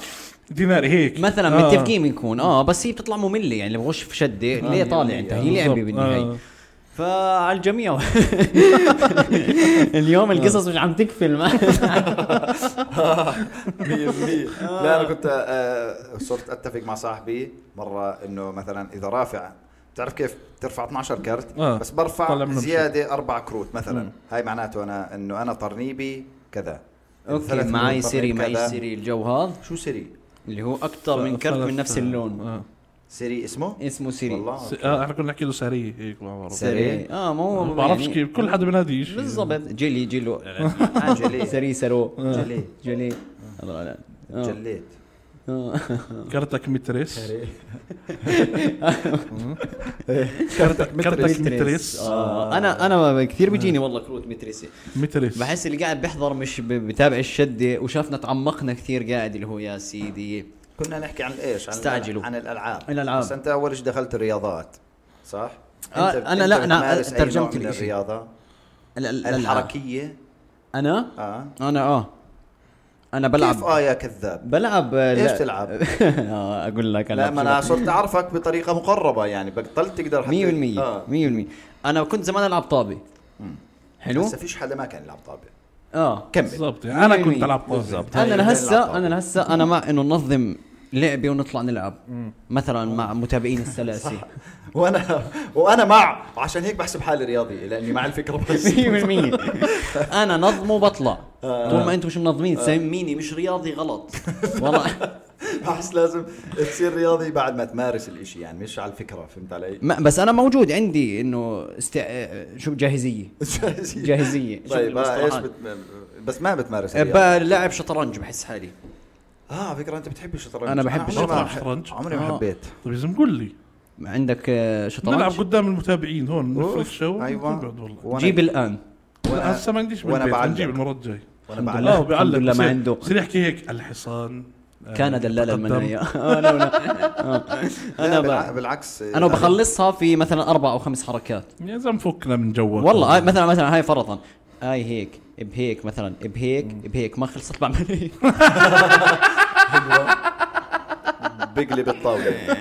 S1: ديناري هيك
S2: مثلا
S1: آه.
S2: متفقين بنكون اه بس هي بتطلع ممله يعني اللي بغش في شده ليه طالع انت هي لعبه
S1: يعني بالضبط.
S2: بالنهايه
S1: آه.
S2: فعلى الجميع
S1: آه.
S2: اليوم القصص مش عم تكفل ما
S3: مية بالمية لا انا كنت آه، صرت اتفق مع صاحبي مره انه مثلا اذا رافع بتعرف كيف ترفع 12 كرت
S1: آه.
S3: بس
S1: طلع
S3: برفع
S1: منهم
S3: زياده اربع كروت مثلا هاي معناته انا انه انا طرنيبي كذا
S2: اوكي
S3: ثلاث
S2: معي
S3: كروت
S2: سيري
S3: طرنيب
S2: معي
S3: كذا.
S2: سيري الجو هذا
S3: شو سيري؟
S2: اللي هو اكثر من كرت من نفس اللون
S1: آه.
S3: سيري اسمه؟
S2: اسمه إيه، سيري
S3: والله
S1: س- آه، احنا كنا نحكي له ساريه هيك ما بعرف
S3: سارية.
S2: سيري اه ما هو
S1: ما بعرفش
S2: يعني-
S1: كيف كل حدا بينادي شيء
S2: بالضبط جيلي جيلو آه.
S3: جيلي.
S2: سري سرو
S3: جلي
S2: جيلي آه. الله لا آه.
S3: جليت
S2: آه.
S1: كرتك مترس
S3: كرتك
S1: كرتك مترس
S2: آه. انا انا كثير بيجيني والله كروت مترسي
S1: مترس
S2: بحس اللي قاعد بيحضر مش ب- بتابع الشده وشافنا تعمقنا كثير قاعد اللي هو يا سيدي
S3: كنا نحكي عن ايش؟ عن
S2: استعجلوا.
S3: عن الالعاب
S2: الألعاب.
S3: بس انت اول شيء دخلت الرياضات صح؟
S2: آه،
S3: أنت-
S2: أنا
S3: أنت
S2: لا، أنا
S3: بتمارس أي
S2: ترجمت
S3: نوع من
S2: الإشي.
S3: الرياضه
S2: ال- ال- الحركي
S3: الحركيه
S2: انا
S3: اه
S2: انا اه انا
S3: كيف
S2: بلعب
S3: اه يا كذاب
S2: بلعب آه،
S3: ليش
S2: لا.
S3: تلعب؟
S2: آه، اقول لك انا
S3: لا ما انا صرت اعرفك بطريقه مقربه يعني بطلت تقدر
S2: 100%
S3: حتى- آه.
S2: 100% انا كنت زمان العب طابه حلو
S3: هسه فيش حدا ما كان يلعب طابه
S2: اه
S3: كمل
S1: بالضبط يعني انا
S2: مية
S1: كنت
S2: بالمية.
S1: العب بالضبط
S2: انا
S3: هاي
S2: لهسه
S3: نلعب
S2: انا لهسه انا مع انه ننظم لعبه ونطلع نلعب مثلا مع متابعين السلاسي
S3: وانا وانا مع عشان هيك بحسب حالي رياضي لاني مع الفكره بس
S2: 100% انا نظم وبطلع
S3: آه.
S2: طول ما انتم مش منظمين تسميني مش رياضي غلط والله
S3: بحس لازم تصير رياضي بعد ما تمارس الاشي يعني مش على الفكره فهمت علي؟
S2: ما بس انا موجود عندي انه استع... شو جاهزيه جاهزية. شوف
S3: طيب آه، ايش
S2: المصطلحات.
S3: بت... طيب. بس ما بتمارس
S2: إيه،
S3: الرياضة.
S2: بلعب شطرنج بحس حالي
S3: اه على فكره انت بتحب الشطرنج
S2: أنا بحب
S3: عمري ما-
S1: الشطرنج.
S3: عمري ما
S2: آه.
S3: حبيت
S1: طيب يا زلمه قول لي
S2: عندك آه،
S1: نلعب
S2: شطرنج
S1: قدام المتابعين هون
S3: أوف،
S1: نفرش شو
S3: أيوة.
S1: نقعد والله
S3: وأنا-
S2: جيب الان
S1: لا، هسه ما عنديش
S3: وأنا
S1: بالبيت
S3: بعلق.
S1: نجيب المره الجايه
S3: وانا
S2: الحمد
S3: بعلق
S2: لله.
S1: اه بيعلق
S2: الحمد لله ما
S1: بصير-
S2: عنده.
S1: بصير يحكي هيك الحصان آه،
S2: كان دلال
S1: تقدم.
S2: المنايا آه، لا، لا. آه.
S3: انا
S2: انا ب-
S3: بالعكس آه،
S2: انا بخلصها في مثلا اربع او خمس حركات
S1: يا زلمه فكنا من جوك
S2: والله هاي مثلا مثلا هاي فرضا هاي هيك بهيك مثلا بهيك بهيك ما خلصت بعمل هيك
S3: بقلب الطاوله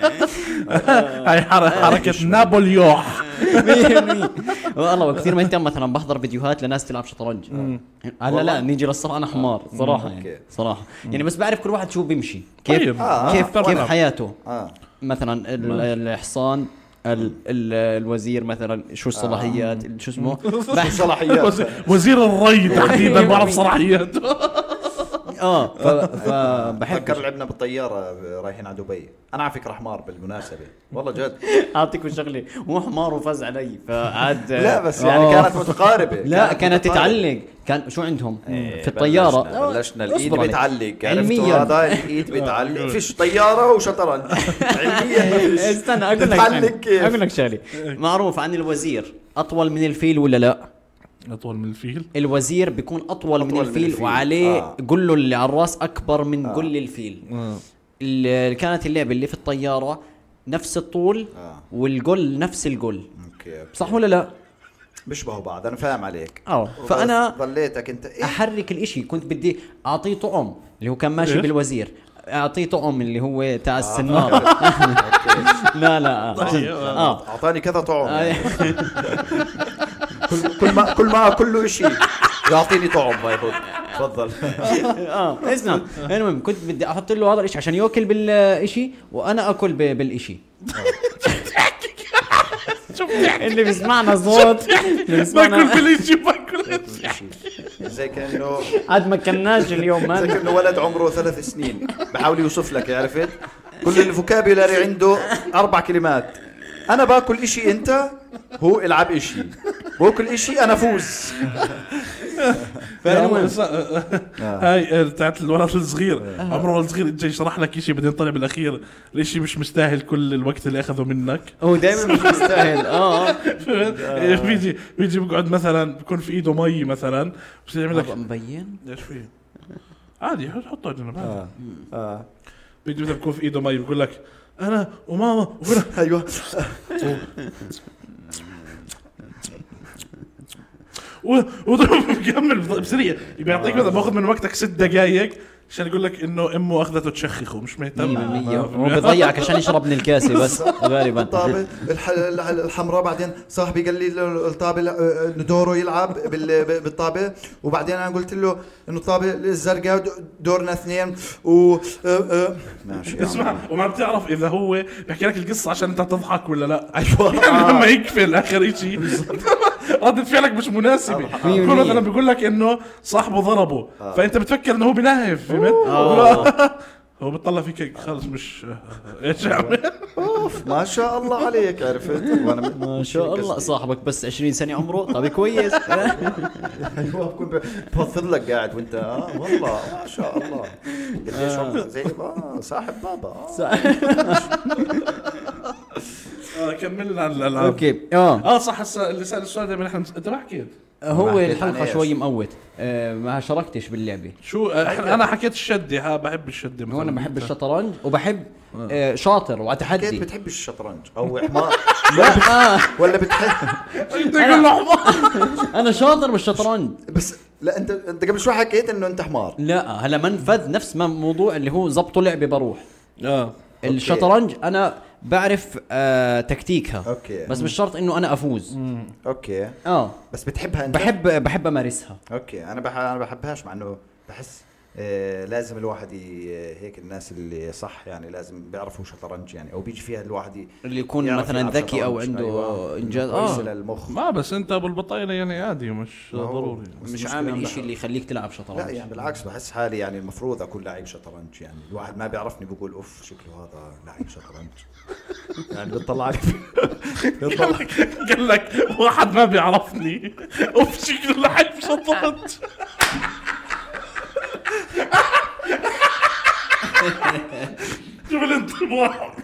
S1: هاي حر- حركه نابليوح
S2: يعني، والله وكثير ما اهتم مثلا بحضر فيديوهات لناس تلعب شطرنج هلا لا
S3: والله.
S2: نيجي للصراحه انا حمار صراحه يعني
S3: أوكي.
S2: صراحه يعني بس بعرف كل واحد شو بيمشي كيف
S1: طيب. آه،
S2: كيف
S1: أكتر
S2: كيف
S1: ملعب.
S2: حياته
S3: اه
S2: مثلا ال- الحصان ال- ال- الوزير مثلا شو الصلاحيات
S3: آه.
S2: شو اسمه بحث
S3: صلاحيات
S1: وز- وزير الري تحديدا بعرف صلاحياته
S2: اه ف- فبحب
S3: بفكر لعبنا بالطياره رايحين على دبي انا على فكره حمار بالمناسبه والله جد
S2: آه. اعطيكم شغله مو حمار وفاز علي فعاد
S3: لا بس يعني
S2: آه.
S3: كانت متقاربه
S2: لا كانت
S3: متقاربة.
S2: تتعلق كان شو عندهم
S3: إيه،
S2: في الطياره
S3: بلشنا, بلشنا
S2: أصبر
S3: الايد
S2: عليك.
S3: بتعلق آه،
S2: علمياً.
S3: علميا هذا الايد بتعلق فيش طياره وشطرنج علميا ما فيش.
S2: استنى اقول لك
S3: تتعلق
S2: شغلة.
S3: كيف؟
S2: اقول لك شغله معروف عن الوزير اطول من الفيل ولا لا
S1: اطول من الفيل
S2: الوزير بيكون اطول, من,
S3: أطول من
S2: الفيل
S3: الفيل.
S2: وعليه
S3: آه.
S2: قله اللي على الراس اكبر من قل الفيل اللي كانت اللعبه اللي في الطياره نفس الطول
S3: آه.
S2: والقل نفس القل
S3: اوكي أوكي.
S2: صح ولا لا
S3: بيشبهوا بعض انا فاهم عليك
S2: اه فانا
S3: بس ضليتك انت إيه؟
S2: احرك الاشي كنت بدي اعطيه طعم اللي هو كان ماشي
S1: إيش؟
S2: بالوزير اعطيه طعم اللي هو تاع
S3: آه،
S2: السناره لا لا آه.
S1: طيب.
S2: اه
S3: اعطاني كذا طعم يعني. كل كل ما كل ما كله شيء يعطيني طعم ما ياخذ تفضل
S2: اه اسمع المهم كنت بدي احط له هذا الشيء عشان ياكل بالشيء وانا اكل ب- بالشيء
S1: شو بتحكي
S2: اللي بيسمعنا صوت اللي
S1: باكل
S2: بيسمعنا
S1: فليشي باكل
S3: زي كانه
S2: عاد ما كناش اليوم
S3: زي
S2: مان
S3: كانه ولد عمره ثلاث سنين بحاول يوصف لك عرفت كل الفوكابيولاري عنده اربع كلمات انا باكل اشي انت هو العب اشي باكل اشي انا فوز
S2: فالمهم.
S1: هاي آه، بتاعت الولد الصغير عمره الصغير اجى يشرح لك شيء بعدين طلع بالاخير الشيء مش مستاهل كل الوقت اللي اخذه منك إيه،
S2: هو دائما مش مستاهل اه آه.
S1: بيجي بيجي بقعد مثلا بكون في ايده مي مثلا بصير يعمل
S2: هذا
S1: لك
S2: مبين
S1: ايش فيه؟ عادي حط- حطه على جنب عادي.
S3: آه. آه.
S1: بيجي مثلا بكون في ايده مي بقول لك انا وماما وكنا
S3: ايوه
S1: وبكمل بسريع بيعطيك مثلا باخذ من وقتك ست دقائق عشان يقول لك انه امه اخذته تشخخه مش مهتم آه.
S2: 100% هو بيضيعك عشان يشرب من الكاسه بس غالبا
S3: الطابة الح- الح- الحمراء بعدين صاحبي قال لي له الطابة لا- آه، آه، دوره يلعب بال- ب- بالطابة وبعدين انا قلت له انه الطابة الزرقاء د- دورنا اثنين و آه، آه. ماشي يا عم.
S1: اسمع وما بتعرف اذا هو بحكي لك القصه عشان انت تضحك ولا لا
S3: ايوه
S1: لما يقفل اخر شيء ردة فعلك مش مناسبة
S2: مية
S1: بكون مثلا
S2: بالمية.
S1: بيقول لك انه صاحبه ضربه فانت بتفكر انه هو بنهف فهمت؟ هو بتطلع فيك هيك خلص مش ايش اعمل؟
S3: ما شاء الله عليك عرفت وانا
S2: ما شاء الله صاحبك بس 20 سنه عمره طب كويس
S3: ايوه بكون بفضل لك قاعد وانت اه والله ما شاء الله قديش
S2: آه.
S3: عمرك زي اه صاحب بابا آه.
S1: آه، كملنا عن الالعاب
S2: اوكي اه
S1: اه صح هسه اللي سال السؤال دائما احنا انت ما حكيت
S2: هو
S3: حكيت
S2: الحلقه
S3: عليه.
S2: شوي مموت آه، ما شاركتش باللعبه
S1: شو آه، إحنا- انا حكيت الشده ها بحب الشده مثلا
S2: هو انا بحب الشطرنج وبحب آه، شاطر
S3: كيف
S2: واتحدي
S3: بتحبش الشطرنج او حمار لا
S2: آه،
S3: ولا بتحب
S1: بدي اقول له حمار.
S2: انا شاطر بالشطرنج
S3: بس لا انت انت قبل شوي حكيت انه انت حمار
S2: لا هلا منفذ نفس ما موضوع اللي هو زبطه لعبه بروح
S3: آه،
S1: اه
S2: الشطرنج انا بعرف آه تكتيكها
S3: أوكي.
S2: بس مش شرط انه انا افوز
S3: اوكي
S2: اه
S3: بس بتحبها انت
S2: بحب بحب امارسها
S3: اوكي انا بح... انا بحبهاش مع انه بحس آه لازم الواحد ي... هيك الناس اللي صح يعني لازم بيعرفوا شطرنج يعني او بيجي فيها الواحد ي...
S2: اللي يكون
S3: يعرف
S2: مثلا
S3: يلعب
S2: ذكي او
S3: شطرنج.
S2: عنده
S3: أيوة.
S2: انجاز
S3: كويس
S2: اه
S3: للمخ
S1: ما بس انت ابو البطاينه يعني عادي مش
S3: ما هو-
S1: ضروري
S3: بس
S2: مش
S3: المشكلة
S2: عامل
S3: عم
S2: إشي اللي يخليك تلعب شطرنج
S3: لا يعني بالعكس بحس حالي يعني المفروض اكون لعيب شطرنج يعني الواحد ما بيعرفني بقول اوف شكله هذا لعيب شطرنج يعني بتطلع لي بتطلع
S1: قال لك واحد ما بيعرفني اوف شكله لحد شطرنج شوف الانطباع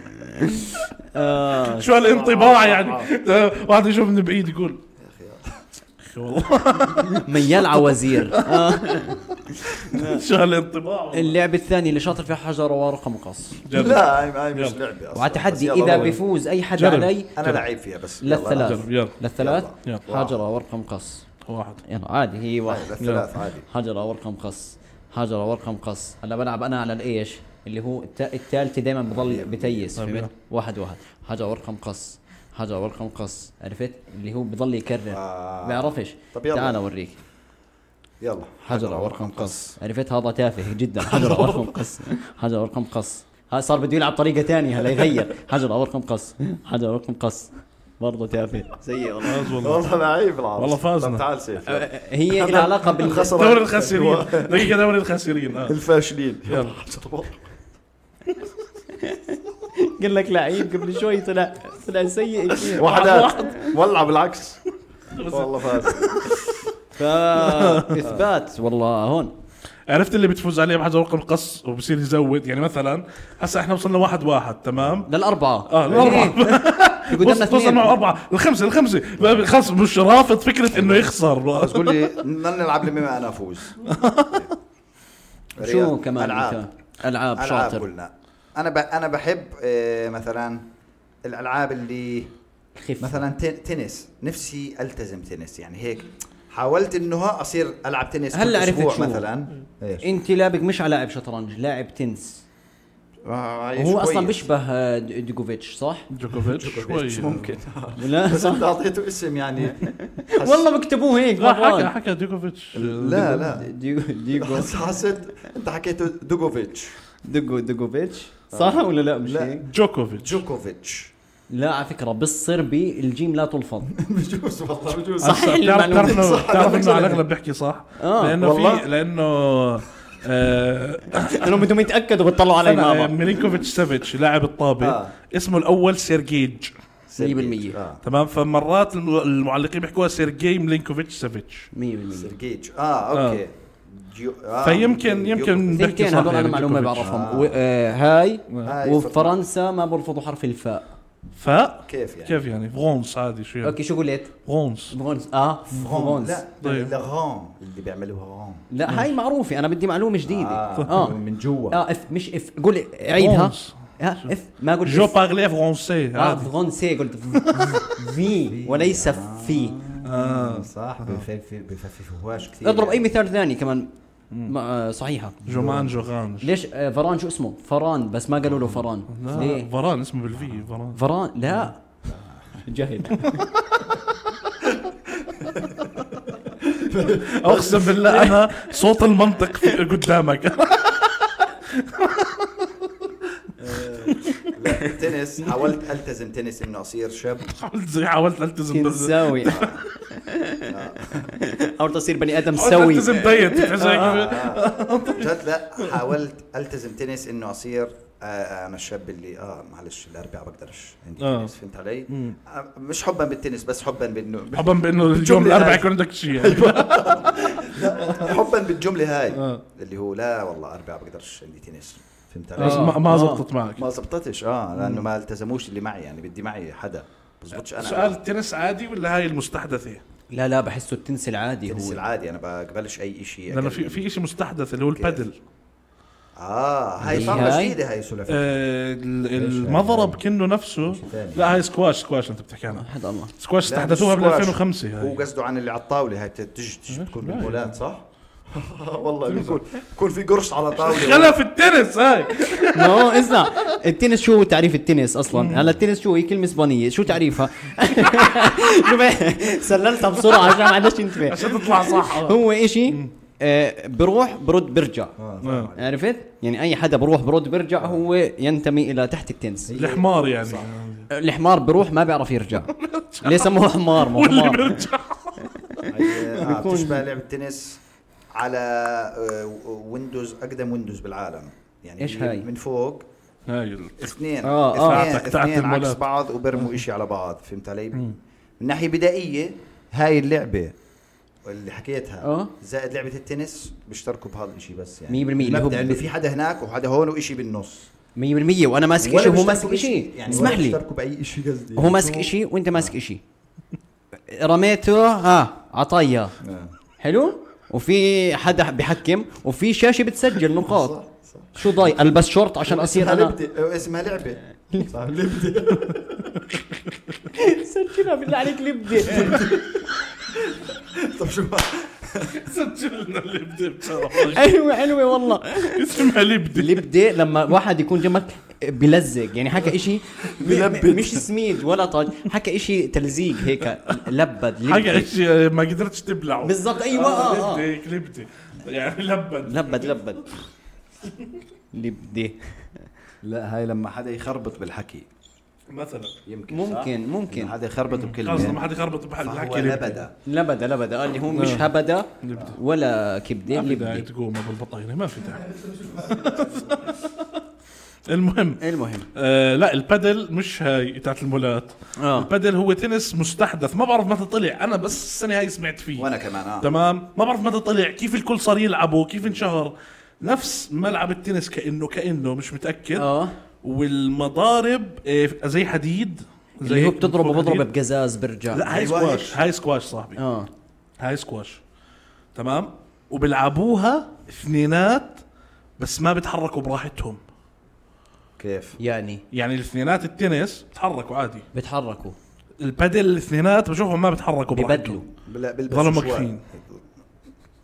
S2: آه
S1: شو الانطباع يعني واحد يشوفني بعيد يقول يا اخي والله
S2: ميال عوازير آه
S1: شو الانطباع
S2: اللعبة الثانية اللي شاطر فيها حجر ورقة مقص
S3: لا هاي هاي مش
S1: يلا.
S3: لعبه اصلا بس
S2: وتحدي
S3: يلا
S2: اذا
S3: روح.
S2: بيفوز اي حدا
S1: جرب.
S2: علي
S3: انا لعيب فيها بس يلا
S2: للثلاث
S1: جرب، يلا.
S2: للثلاث
S1: يلا.
S2: حجرة ورقة مقص
S1: واحد
S2: يلا عادي هي واحد
S3: للثلاث عادي
S2: حجرة ورقة مقص حجرة ورقة مقص هلا بلعب انا على الايش اللي هو الت- الثالثة دائما بضل بتيس
S1: طيب،
S2: فهمت
S1: يلا.
S2: واحد واحد حجرة ورقة مقص حجرة ورقة مقص عرفت اللي هو بضل يكرر
S3: آه.
S2: بعرفش
S3: طب يلا.
S2: تعال اوريك
S3: يلا
S2: حجرة ورقة مقص عرفت هذا تافه جدا حجرة ورقة مقص حجرة ورقة مقص هاي صار بده يلعب طريقة ثانية هلا يغير حجرة ورقة مقص حجرة ورقة مقص برضه تافه سيء والله
S1: فاز والله
S3: والله لعيب العرب
S1: والله فازنا.
S3: طب تعال سيف
S2: هي لها علاقة بالخسر
S1: دوري الخاسرين دقيقة دوري الخاسرين اه
S3: الفاشلين
S1: يلا.
S2: قال لك لعيب قبل شوي طلع طلع سيء كثير
S1: واحد.
S3: وحدات والله بالعكس والله فاز
S2: فاثبات والله هون
S1: عرفت اللي بتفوز عليه بحجر رقم قص وبصير يزود يعني مثلا هسا احنا وصلنا واحد واحد تمام
S2: للأربعة
S1: اه الاربعه
S2: قدامنا
S1: بص- توصل
S2: إيه. اثنين
S1: معه اربعه الخمسه الخمسه ما- خلص مش رافض فكره انه يخسر
S3: بس قول لي بدنا نلعب لما ما انا افوز
S2: شو كمان
S3: العاب
S2: أنت؟ ألعاب
S3: العاب
S2: شاطر
S3: قلنا انا ب... انا بحب آه، مثلا الالعاب اللي
S2: خف
S3: مثلا تن- تنس نفسي التزم تنس يعني هيك حاولت انه ها اصير العب تنس
S2: هلا
S3: كل
S2: عرفت
S3: أسبوع
S2: شو. إيه.
S3: مثلا إيش؟
S2: انت لابق مش على لاعب شطرنج لاعب تنس وهو اصلا بيشبه آه، ديجوفيتش صح؟
S1: جوكوفيتش
S3: مش
S1: شوي
S3: ممكن
S2: لا
S3: بس انت اعطيته اسم يعني حس-
S2: والله مكتبوه هيك
S1: لا حكى
S2: مرات
S1: حكى ديكوفيتش
S3: لا لا
S2: ديجو ديجو
S3: حس- حسيت انت حكيته دوغوفيتش
S2: ديجو ديجوفيتش صح ولا لا مش
S3: لا.
S2: هيك؟
S1: جوكوفيتش
S3: جوكوفيتش
S2: لا على فكره بالصربي الجيم لا تلفظ
S3: بجوز والله بجوز
S2: صح
S1: بتعرف- بتعرف
S2: المعلومه
S1: انه
S3: صح،
S1: بتعرف انه
S3: أنا
S1: على
S3: بقصد-
S1: الاغلب بيحكي صح
S2: آه،
S1: لانه في
S3: والله.
S1: لانه آه،
S2: لانهم بدهم يتاكدوا بيطلعوا علي
S1: أنا- آه،
S2: ماما
S1: ميلينكوفيتش سافيتش لاعب الطابه
S3: آه.
S1: اسمه الاول سيرجيج
S2: 100%.
S3: آه.
S1: تمام فمرات الم- المعلقين بيحكوها سيرجي ميلينكوفيتش سافيتش
S2: 100%
S3: سيرجيج اه اوكي جو... آه.
S1: فيمكن يمكن بيحكي
S2: ثنتين
S1: صح
S2: هذول
S1: يعني
S2: انا معلومه
S1: جوكوفيتش.
S2: بعرفهم
S3: آه.
S2: و- آه، هاي
S3: هاي
S2: وفرنسا ما بيرفضوا حرف الفاء
S1: ف
S3: كيف يعني؟
S1: كيف يعني فرونس عادي شو يعني
S2: اوكي شو قلت؟
S1: فرونس
S2: فرنسا اه
S3: غون
S2: فرنسا
S3: لا
S1: طيب.
S3: لغون اللي بيعملوها غون
S2: لا هاي معروفه انا بدي معلومه جديده
S3: آه.
S2: اه
S3: من جوا
S2: اه اف مش اف قول عيدها
S1: فرنسا.
S2: ها اف ما قلت
S1: جو
S2: إف.
S1: بارلي فرونسي
S3: آه.
S2: اه
S1: عادي
S2: فرنسي قلت في وليس في
S3: اه صح بيخف- بيخففوهاش كثير يعني.
S2: اضرب اي مثال ثاني كمان ما آه، صحيحه
S1: جو مان جو غانج
S2: ليش آه، فران شو اسمه فران بس ما قالوا له فران
S1: لا
S2: ليه
S1: فران اسمه بالفي فران
S2: فران لا جهل
S1: اقسم بالله انا صوت المنطق في- قدامك
S3: لا تنس حاولت التزم تنس انه اصير شاب
S1: حاولت زي حاولت التزم بس-
S2: انساوي حاولت اصير بني ادم
S1: حاولت
S2: سوي
S1: التزم دايت بتحس هيك.
S3: آه. جد لا حاولت التزم تنس انه اصير آه، انا الشاب اللي اه معلش الاربعاء بقدرش عندي
S1: آه.
S3: تنس فهمت علي؟ آه، مش حبا بالتنس بس حبا بانه
S1: حبا بانه اليوم
S3: الجملة
S1: الاربعاء
S3: هاي.
S1: يكون عندك
S3: أيوة.
S1: شيء يعني.
S3: حبا بالجمله هاي
S1: آه.
S3: اللي هو لا والله اربعاء بقدرش عندي تنس فهمت
S1: بس
S3: علي؟
S1: ما ما
S2: آه.
S1: زبطت معك
S3: ما زبطتش اه لانه ما التزموش اللي معي يعني بدي معي حدا بزبطش انا
S1: سؤال التنس عادي ولا هاي المستحدثه؟
S2: لا لا بحسه التنس العادي
S3: التنس
S2: هو
S3: العادي انا بقبلش اي شيء
S1: لانه في في شيء مستحدث اللي هو البادل
S3: اه هاي
S2: هي
S3: فقره
S2: هاي؟
S3: جديده هاي سلفي
S1: آه، ال- المضرب كنه نفسه
S3: يعني؟ ثاني.
S1: لا هاي سكواش سكواش انت بتحكي عنها
S2: حد الله
S1: سكواش
S3: لا، مش
S1: استحدثوها بال
S3: سكواش.
S1: 2005
S3: هو
S1: هاي
S3: قصده عن اللي على الطاوله هاي بتج تج- بتكون
S1: لا، يعني.
S3: بالبولات صح؟ والله بيكون بيكون في قرص على طاوله
S1: خلف التنس هاي
S2: ما هو اسمع التنس شو هو تعريف التنس اصلا هلا التنس شو هي كلمه اسبانيه شو تعريفها شوف سللتها بسرعه عشان ما حداش ينتبه
S1: عشان تطلع صح آه.
S2: هو اشي آه، بروح برد برجع
S1: آه.
S2: عرفت يعني اي حدا بروح برد برجع هو ينتمي الى تحت التنس
S1: الحمار يعني
S2: الحمار بروح ما بيعرف يرجع ليه سموه حمار ما هو
S1: واللي
S2: حمار
S1: بيرجع
S3: هاي، آه،
S2: بيكون-
S3: بتشبه لعبه تنس على آه، ويندوز اقدم ويندوز بالعالم يعني
S2: إيش
S3: هي
S2: هاي؟
S3: من فوق
S1: هاي ال-
S3: اثنين
S2: آه، آه.
S3: اثنين,
S1: تاعت- تاعت
S3: اثنين عكس
S1: المولات.
S3: بعض وبرموا اشي على بعض فهمت علي؟ من ناحيه بدائيه هاي اللعبه اللي حكيتها
S2: آه.
S3: زائد لعبه التنس بيشتركوا بهذا الشيء بس يعني
S2: 100% اللي هو
S3: المبدأ انه في حدا هناك وحدا هون وشيء بالنص
S2: 100% وانا ماسك
S3: ولا
S2: اشي وهو
S3: بيشتركوا
S2: ماسك
S3: بإشي.
S2: اشي
S3: يعني
S2: اسمح
S3: ولا
S2: لي
S3: بيشتركوا باي اشي قصدي
S2: هو ماسك
S3: شو-
S2: اشي وانت ماسك اشي رميته ها عطايا
S3: آه.
S2: حلو وفي حدا بحكم وفي شاشه بتسجل
S3: صح
S2: نقاط
S3: صح
S2: شو ضاي البس شورت عشان اصير
S3: اسمها
S2: انا
S3: لبدة اسمها آه، لعبة
S2: آه.
S3: صح لبدة
S2: سجلها بالله عليك لبدي
S3: طب شو
S1: سجلنا اللي بدي بصراحة.
S2: ايوه حلوه والله
S1: اسمها لبدي
S2: لبدة لما واحد يكون جنبك بلزق يعني حكى اشي
S3: بلبد.
S2: مش سميد ولا طاج حكى اشي تلزيق هيك لبد
S1: حاجة
S2: لبد
S1: اشي ما قدرتش تبلعه
S2: بالضبط ايوه
S1: آه،
S2: آه،
S1: لبدي
S2: آه.
S1: هيك لبدي يعني لبد
S2: لبد لبد لبدة
S3: لا هاي لما حدا يخربط بالحكي
S1: مثلا
S3: يمكن
S2: ممكن
S3: ممكن
S2: ممكن
S3: حدا يخربط بكلمة
S1: خلص لما حد يخربط بحل
S3: فهو
S1: الحكي لبدي.
S3: لبدة
S2: لبدة لبدة آه، اللي هو مش هبدة
S1: لبدة.
S2: ولا
S1: ما
S2: كبدة
S1: في داعي
S2: لبدة
S1: تقوم ابو البطاينه ما في داعي المهم
S2: المهم
S1: آه لا البادل مش هاي بتاعت المولات
S2: آه.
S1: البادل هو تنس مستحدث ما بعرف متى طلع انا بس السنه هاي سمعت فيه
S3: وانا كمان اه
S1: تمام ما بعرف متى طلع كيف الكل صار يلعبه كيف انشهر نفس ملعب التنس كانه كانه مش متاكد
S2: اه
S1: والمضارب آه زي حديد زي
S2: اللي هو
S1: هيك
S2: بتضربه
S1: فوق
S2: بضربه
S1: حديد.
S2: بقزاز برجع
S1: لا هاي
S3: أيوة
S1: سكواش
S3: هيك.
S1: هاي سكواش صاحبي
S2: اه
S1: هاي سكواش تمام وبيلعبوها اثنينات بس ما بيتحركوا براحتهم
S3: كيف
S2: يعني
S1: يعني الاثنينات التنس بتحركوا عادي
S2: بتحركوا
S1: البادل الاثنينات بشوفهم ما بتحركوا
S2: ببدلوا
S1: براحتهم
S3: بلا بلبس
S1: ظلمك
S3: شوال.
S1: فين.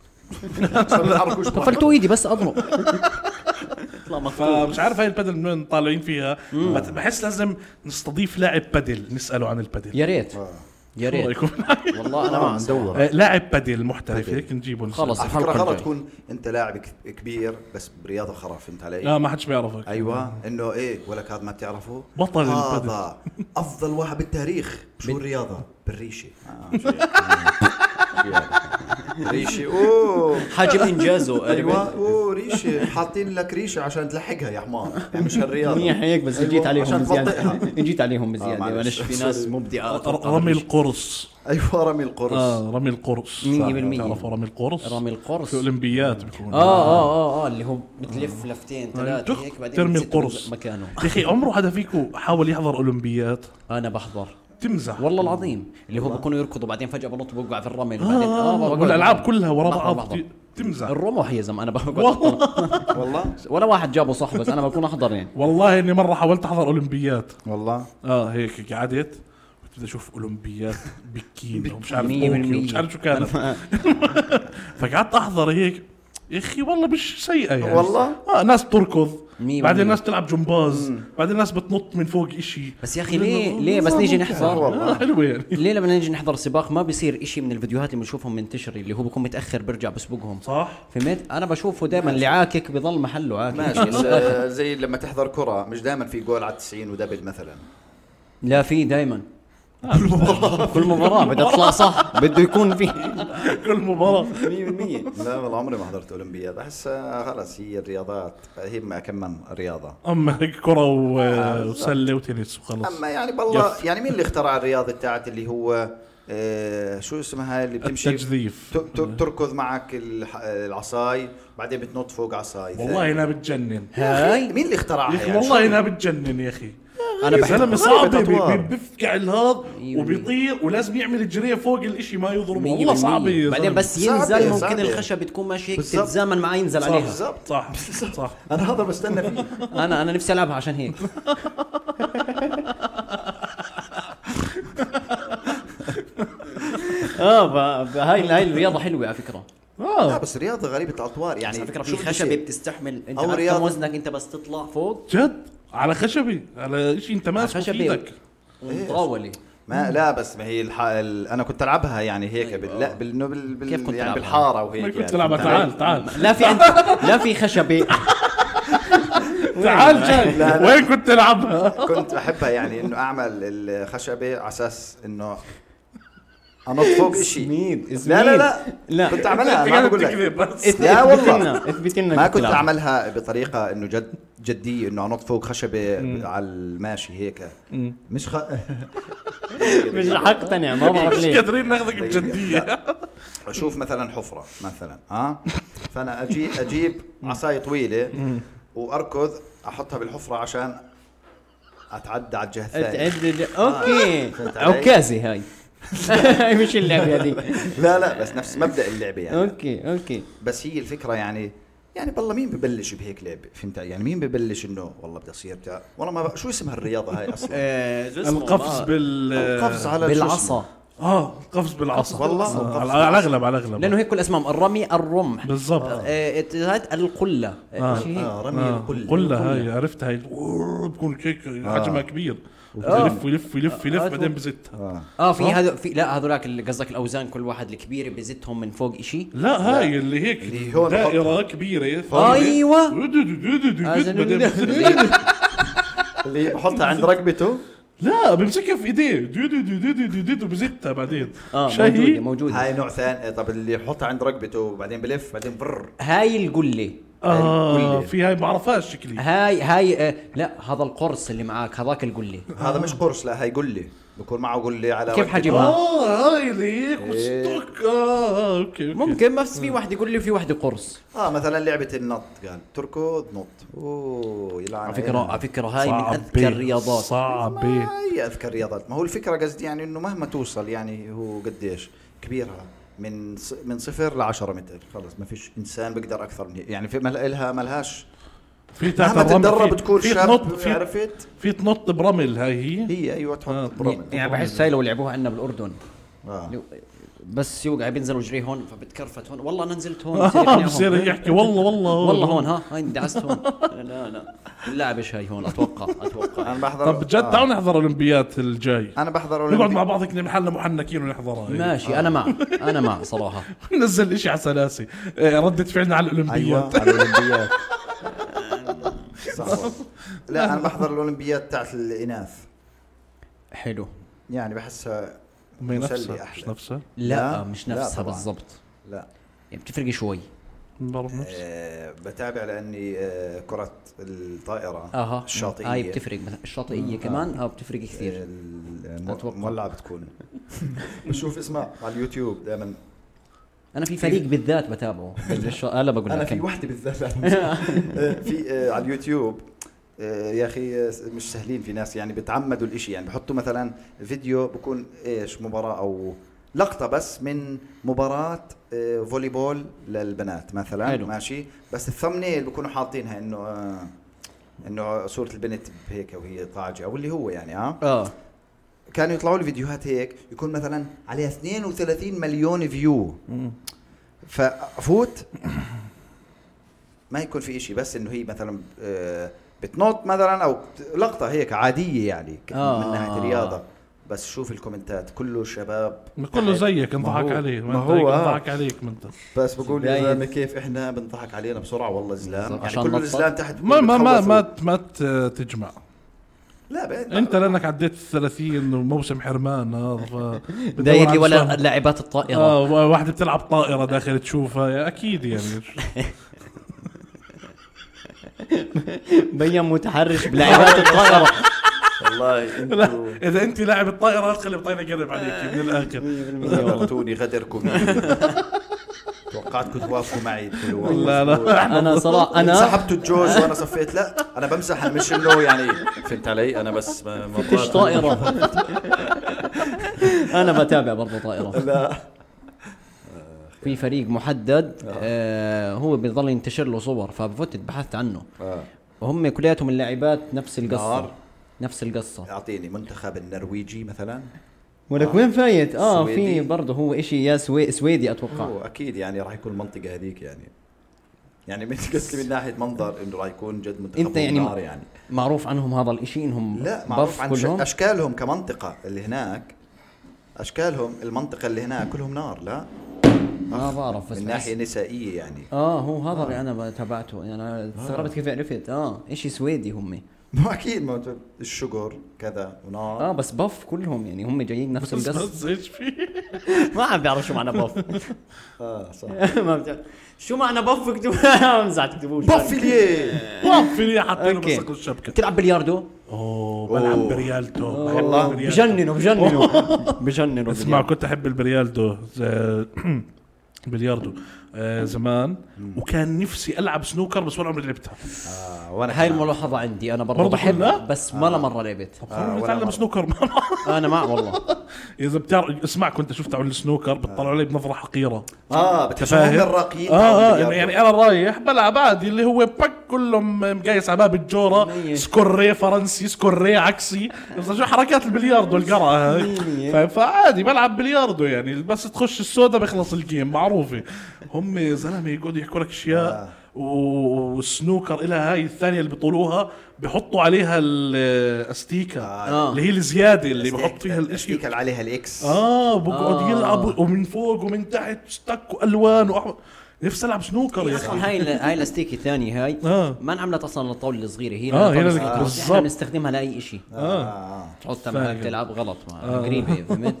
S3: صار بيتحركوش
S2: طفلتوا ايدي بس اضرب تطلع مقطوع
S1: فمش عارف هاي البادل من وين طالعين فيها بت- بحس لازم نستضيف لاعب بادل نساله عن البادل
S2: يا ريت يا
S1: شو
S2: ريت
S1: رأيكم؟
S2: والله انا
S3: آه،
S2: ما
S3: ندور
S1: آه، لاعب بادل محترف هيك نجيبه نسأله.
S2: خلص.
S3: على فكره
S2: الحلقة
S3: غلط
S2: الجاية.
S3: تكون انت لاعب ك- كبير بس برياضه خرا فهمت علي؟
S1: لا ما حدش بيعرفك
S2: أيوة.
S3: ايوه انه ايه ولك هذا ما بتعرفه
S1: بطل
S3: هذا افضل واحد بالتاريخ شو الرياضه بالريشه آه، شو يعني؟ هيك. ريشه اوه
S2: حجم انجازه
S3: ايوه اوه ريشه حاطين لك ريشه عشان تلحقها يا حمار يعني مش هالرياضه
S2: منيح هيك بس
S3: أيوة،
S2: جيت عليهم
S3: عشان
S2: بزياده
S3: توضحها.
S2: جيت عليهم
S3: آه،
S2: بزياده
S3: معلش.
S2: معلش في ناس مبدعه
S1: ر-
S2: أتوقع
S1: رمي
S2: مش-
S1: القرص
S3: ايوه رمي
S2: آه.
S3: القرص
S1: اه رمي القرص
S2: 100%
S1: بتعرفوا رمي القرص
S2: رمي القرص
S1: في اولمبيات بيكون
S2: اه اه اه اه اللي هو بتلف لفتين ثلاثه
S1: تخ-
S2: هيك بعدين
S1: ترمي
S2: بتزت
S1: القرص.
S2: مكانه
S1: يا اخي عمره حدا فيكم حاول يحضر اولمبيات
S2: انا بحضر
S1: تمزح
S2: والله العظيم اللي هو بكونوا يركضوا بعدين فجاه بنط بوقع في الرمل آه، وبعدين
S1: اه
S2: بوقع.
S1: والالعاب كلها ورا
S2: بحضر-
S1: بعض
S2: بحضر.
S1: تمزح
S2: الرمح يا زلمه انا بقعد
S1: والله
S3: والله
S2: ولا واحد جابه صح بس انا بكون احضر يعني
S1: والله اني مره حاولت احضر اولمبيات
S3: والله
S1: اه هيك قعدت كنت بدي اشوف اولمبيات بكين ومش عارف
S2: مية
S1: أوكي
S2: بالمية.
S1: ومش عارف شو كانت فقعدت احضر هيك يا اخي والله مش سيئه يعني
S3: والله؟
S1: اه ناس بتركض
S2: مية
S1: بعدين
S2: بالمية.
S1: ناس بتلعب جمباز بعدين ناس بتنط من فوق إشي
S2: بس يا أخي ليه- ليه بس نيجي نحضر؟
S1: والله حلوه آه، يعني
S2: ليه لما نيجي نحضر سباق ما بيصير إشي من الفيديوهات اللي بنشوفهم منتشر اللي هو بكون متاخر برجع بسبقهم
S1: صح
S2: فهمت انا بشوفه دائما اللي عاكك بضل محله عاكك
S3: ماشي بس، آه، زي لما تحضر كره مش دائما في جول على 90 ودبل مثلا
S2: لا في دائما كل مباراة بدها تطلع صح بده يكون في
S1: كل مباراه
S2: 100%
S3: لا والله عمري ما حضرت اولمبياد احس آه، خلص هي الرياضات هي ما كمان رياضه
S1: اما هيك كره
S3: آه،
S1: و- وسله وتنس وخلص
S3: اما يعني بالله
S1: يف.
S3: يعني مين اللي اخترع الرياضه بتاعت اللي هو آه شو اسمها اللي بتمشي
S1: التجذيف.
S3: ت- ت- تركض معك الح- العصاي بعدين بتنط فوق عصاي
S1: والله انها بتجنن
S2: هاي
S3: مين اللي
S1: يا
S3: اخترعها
S1: اخي
S3: يعني؟
S1: والله انها بتجنن يا اخي
S2: أنا
S1: يا
S2: بحب-
S1: زلمه
S3: والله
S1: صعبه
S3: بتطوار.
S1: بي- بي- بيفقع الهاد
S2: أيوة.
S1: وبيطير ولازم يعمل الجريه فوق الاشي ما يضربه
S2: 100%
S1: والله صعبه يا
S2: بعدين
S1: زلمة.
S2: بس
S3: صعبة،
S2: ينزل ممكن
S3: صعبة.
S2: الخشب تكون ماشي هيك
S3: بالضبط.
S2: تتزامن معاه ينزل
S1: صح
S2: عليها
S1: بالظبط صح صح
S3: انا يعني هذا بستنى فيه
S2: انا انا نفسي العبها عشان هيك اه ف- فهاي هاي الرياضه حلوه على فكره
S3: لا
S1: اه
S3: بس رياضه غريبه الاطوار يعني
S2: على فكره
S3: شو
S2: في
S3: بدي
S2: خشبه
S3: شيء؟
S2: بتستحمل انت
S3: أو
S2: اكثر
S3: رياضة.
S2: وزنك انت بس تطلع فوق
S1: جد على خشبي على اشي انت ماسكه في
S2: خشبة.
S1: ايدك
S2: ومطاوله
S3: ما لا بس ما هي الح... ال... انا كنت العبها يعني هيك بال... لا بال... بال... بال...
S2: أيوة. كيف كنت
S3: يعني
S2: تلعبها؟
S3: بالحاره وهيك
S1: ما كنت
S3: يعني.
S1: تلعبها تعال تعال
S2: لا في عند... لا في خشبه
S1: تعال
S3: لا،
S1: جاي
S3: لا.
S1: وين كنت تلعبها؟
S3: كنت بحبها يعني انه اعمل الخشبه على اساس انه انط فوق شيء لا لا لا
S2: لا.
S3: كنت اعملها ما بقول لك
S1: بس
S2: اثبت
S3: لا والله
S2: لنا اثبت لنا
S3: ما كنت
S2: تلعب.
S3: اعملها بطريقه انه جد جديه انه انط فوق خشبه على الماشي هيك مش خ... يعني
S2: مش حقتنع ما بعرف
S1: مش
S2: ليه
S1: قادرين ناخذك بجديه
S3: اشوف مثلا حفره مثلا ها فانا اجي اجيب عصاي طويله واركض احطها بالحفره عشان اتعدى على الجهه الثانيه
S2: تعد اوكي
S3: آه. فهمت علي؟
S2: عكازي هاي هاي مش اللعبه هذيك
S3: لا لا بس نفس مبدا اللعبه يعني
S2: اوكي اوكي
S3: بس هي الفكره يعني يعني بالله مين ببلش بهيك لعبه فهمت علي؟ يعني مين ببلش انه والله بدي اصير بتاع والله ما بق- شو اسمها الرياضه هاي اصلا
S2: آه،
S1: القفز بال
S3: القفز على شو اسمه؟
S2: بالعصا
S1: اه القفز بالعصا
S3: والله،
S1: آه،
S3: القفز
S1: على
S3: بالعصا.
S1: على الاغلب على الاغلب
S2: لانه هيك كل اسمهم الرمي الرمح
S1: بالضبط
S2: آه، هاد القله آه، شيء هيك.
S3: اه رمي
S1: آه،
S3: القله
S1: قلة هاي عرفت هاي أوه، بكون هيك
S3: آه.
S1: حجمها كبير يلف ويلف ويلف
S2: آه،
S1: ويلف
S2: آه،
S1: بعدين بزتها
S3: آه.
S2: اه في هذا في لا هذولاك اللي قصدك الاوزان كل واحد الكبير بزتهم من فوق إشي
S1: لا هاي اللي هيك
S3: اللي هون
S1: دائرة كبيرة
S2: أيوة.
S1: بعدين بزتها.
S3: اللي بحطها عند رقبته
S1: لا بمسكها في ايديه دو دو دو دو دو دو دو دو بزتها بعدين
S2: اه موجوده
S1: شاهي
S2: موجوده
S3: هاي نوع ثاني إيه، طب اللي يحطها عند رقبته وبعدين بلف بعدين برر
S2: هاي القله
S1: اه
S3: القلة.
S1: في هاي بعرفهاش شكلي
S2: هاي هاي آه، لا هذا القرص اللي معاك هذاك القله
S3: هذا مش قرص لا هاي قله بكون معه قله على
S2: كيف
S3: رقبته.
S2: حجمها؟
S1: اه هاي اللي هيك
S3: إيه.
S1: وستوك اه اوكي أوكي.
S2: ممكن بس في واحد يقول لي في واحد قرص
S3: اه مثلا لعبه النط قال تركض نط اوه يلعن
S2: على فكره على فكره هاي من
S1: صعبة،
S2: اذكى الرياضات
S1: صعبة
S3: ما هي اذكر رياضات ما هو الفكره قصدي يعني انه مهما توصل يعني هو قديش كبيرها من ص- من صفر ل 10 متر خلص ما فيش انسان بيقدر اكثر من هيك. يعني في مل... الها ملهاش
S1: في تحت
S3: مهما
S1: الرمل
S3: تتدرب
S1: في-
S3: تكون
S1: في تنط
S3: شاب
S1: في آه،
S3: عرفت
S1: في تنط برمل هاي هي
S3: هي ايوه تحط برمل
S1: يعني
S2: يعني بحس هاي لو لعبوها عندنا بالاردن
S3: آه.
S2: لو- بس يوقع بينزل وجريه هون فبتكرفت هون والله انا نزلت هون
S1: آه، بصير يحكي والله والله
S2: والله هون ها هاي دعست هون لا لا اللاعب ايش هاي هون اتوقع اتوقع
S3: انا بحضر
S1: طب جد تعالوا نحضر الاولمبيات الجاي
S3: انا بحضر
S1: نقعد مع
S3: اولمبياد
S1: بعض كنا محلنا محنكين ونحضرها هيك.
S2: ماشي انا مع انا مع صراحه
S1: نزل اشي على سلاسي آه، ردة فعلنا على الاولمبيات
S3: ايوه على الاولمبياد صح والله. لا انا بحضر الاولمبياد تاعت الاناث
S2: حلو
S3: يعني بحسها
S1: ما هي
S3: مسلي
S1: نفسها
S3: أحلى.
S1: مش نفسها
S2: لا,
S3: لا،
S2: مش
S3: لا
S2: نفسها
S3: طبعاً.
S2: بالضبط
S3: لا
S2: يعني بتفرق شوي
S1: بعرف نفسها
S3: آه، بتابع لاني آه، كره الطائره
S2: اها
S3: الشاطئيه
S2: آه، هاي بتفرق مثلا الشاطئيه كمان اه بتفرق
S3: إيه.
S2: كثير أتوقع.
S3: مولعه بتكون بشوف اسمها على اليوتيوب دائما
S2: انا في فريق بالذات بتابعه بالش- هلا بقول
S3: انا
S2: لك
S3: في
S2: كم.
S3: وحده بالذات آه، في آه، على اليوتيوب آه، يا اخي آه، مش سهلين في ناس يعني بتعمدوا الاشي يعني بحطوا مثلا فيديو بكون ايش مباراه او لقطه بس من مباراه آه، فوليبول للبنات مثلا
S2: حلو.
S3: حلو. ماشي بس الثمنيل بكونوا حاطينها انه آه، انه صوره البنت هيك وهي طاعجه او اللي هو يعني اه
S2: اه
S3: كانوا يطلعوا لي فيديوهات هيك يكون مثلا عليها 32 مليون فيو فافوت ما يكون في إشي بس انه هي مثلا آه، بتنط مثلا او بت- لقطه هيك عاديه يعني ك-
S2: آه.
S3: من ناحيه الرياضه بس شوف الكومنتات كله شباب
S1: ما كله زيك انضحك
S3: هو-
S1: عليه ما
S3: إيه. ما
S1: انت
S3: هو،
S1: هيك
S3: آه.
S1: انضحك عليك ما انت
S3: بس بقول يا
S2: باين.
S3: زلمه كيف احنا بنضحك علينا بسرعه والله زلام يعني
S2: عشان
S3: كل
S2: نطلع.
S3: الزلام تحت
S1: ما ما ما ما,
S3: بتخلصوا.
S1: ت- ما ت- تجمع
S3: لا بعد-
S1: انت لانك عديت ال 30 وموسم حرمان هذا ف
S2: داير لي ولا لاعبات الطائره
S1: اه و- واحدة بتلعب طائرة داخل تشوفها يا اكيد يعني
S2: مبين متحرش بلاعبات الطائره
S3: والله
S1: لا
S3: انتوا
S1: اذا انت لاعب الطائرة خلي الطائرة قرب عليك من الاخر
S3: إيه، غدرتوني غدركم توقعت كنت واقفوا معي تقولوا والله
S1: لا لا
S2: انا صراحه انا
S3: سحبتوا الجوز وانا صفيت لا انا بمزح أنا مش انه يعني فهمت علي انا بس ما ما
S2: مش
S3: بقدر.
S2: طائره انا بتابع برضه طائره
S3: لا
S2: في فريق محدد آه هو بيضل ينتشر له صور ففوت بحثت عنه
S3: آه.
S2: وهم كلياتهم اللاعبات نفس القصه
S3: نار.
S2: نفس القصه
S3: اعطيني منتخب النرويجي مثلا
S2: ولك وين فايت؟ اه في
S3: سويدي.
S2: برضه هو شيء يا سوي... سويدي اتوقع
S3: هو اكيد يعني راح يكون المنطقه هذيك يعني يعني من قصدي من ناحيه منظر انه راح يكون جد منتخب
S2: انت يعني
S3: نار يعني
S2: معروف عنهم هذا الشيء انهم
S3: لا
S2: بف
S3: معروف عن ش-
S2: كلهم
S3: اشكالهم كمنطقه اللي هناك اشكالهم المنطقه اللي هناك كلهم نار لا
S2: ما بعرف بس
S3: من
S2: بحس-
S3: ناحيه نسائيه يعني
S2: اه هو هذا اللي انا ب- تابعته يعني انا استغربت كيف عرفت اه شيء سويدي هم
S3: ما اكيد ما أنت- الشجر كذا ونار
S2: اه بس بف كلهم يعني هم جايين نفس القصه
S1: بس ايش في
S2: ما عم بيعرف شو معنى بف
S3: اه صح
S2: ما بتعرف شو معنى بف اكتبوا امزح تكتبوش
S3: بافيليه
S1: وقف لي حتى
S2: أوكي.
S1: مسك الشبكة
S2: يعني؟ تلعب بلياردو
S1: اوه بلعب
S3: أوه.
S1: بريالتو بحب
S3: والله.
S1: البريالتو.
S2: بجننوا بجننوا بجننوا
S1: اسمع كنت احب البريالدو ز- بلياردو آه، زمان وكان نفسي العب سنوكر بس ولا عمري لعبتها
S3: آه وانا
S2: هاي
S3: كمان.
S2: الملاحظه عندي انا برضه
S1: برضو كلها؟
S2: بحب بس ولا مره لعبت
S1: آه
S3: ولا
S1: نتعلم
S3: مرة.
S1: سنوكر
S2: انا مع والله
S1: اذا بتعرف اسمع كنت شفت على السنوكر
S3: آه.
S1: بتطلعوا علي بنظره حقيره
S3: اه
S1: فاهم؟
S3: بتفاهم الراقيين
S1: اه اه يعني انا رايح بلعب عادي اللي هو باك كلهم مقايس على باب الجوره
S2: مية.
S1: سكوري فرنسي سكوري عكسي بس شو حركات البلياردو القرعه هاي
S2: مية.
S1: فاهم؟ فعادي بلعب بلياردو يعني بس تخش السودا بيخلص الجيم معروفه هم يا زلمه يقعدوا يحكوا لك
S2: آه.
S1: اشياء و- والسنوكر لها هاي الثانيه اللي بيطولوها بحطوا عليها الاستيكه
S2: آه.
S1: اللي هي الزياده اللي بحط فيها الاشي
S3: الاشي عليها الاكس
S1: اه بقعد
S2: آه.
S1: آه. يلعب ومن فوق ومن تحت ستك والوان واحمر نفسي العب سنوكر يا اخي
S2: اصلا هاي ال- هاي الاستيك الثانيه هاي
S1: آه.
S2: ما انعملت اصلا للطاوله الصغيره هي
S1: آه، هي لل-
S2: للطاولة الصغيرة. بس
S1: بالظبط.
S2: احنا بنستخدمها لاي شيء
S1: آه.
S3: اه
S2: تحطها معك
S1: فاهم. آه.
S2: تلعب غلط مع قريبه فهمت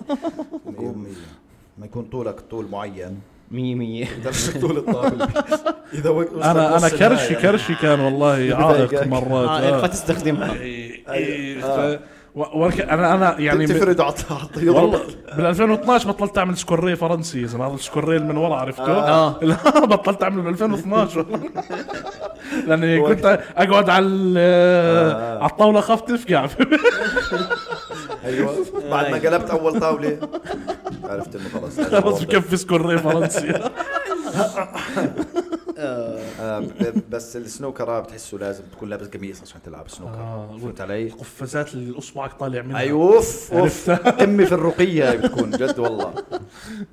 S3: مية مية. ما يكون طولك طول معين
S2: 100 100
S3: درجة طول الطاولة اذا وقت
S1: انا انا كرشي كرشي كان والله عائق
S3: بضايقك.
S1: مرات
S2: يعني
S1: آه.
S2: فتستخدمها
S1: إيه، إيه، ف- و- وأنا ك- انا انا يعني ب-
S3: تفرد عطيه
S1: والله بال 2012 بطلت اعمل سكوري فرنسي يا زلمه هذا السكوري اللي من ورا عرفته؟
S2: آه.
S1: لا بطلت اعمله بال 2012 لاني كنت اقعد على ال- على الطاوله خاف تفقع
S3: ايوه بعد ما قلبت اول طاولة عرفت انه خلص
S1: خلاص بكفي سكوري فرنسي
S3: آه ب- بس السنوكر آه، بتحسه لازم تكون لابس قميص عشان تلعب سنوكر
S1: آه.
S3: فهمت علي؟
S1: قفازات اللي اصبعك طالع منها
S3: ايوه اوف اوف
S1: عرفتها.
S3: قمه في الرقيه هاي بتكون جد والله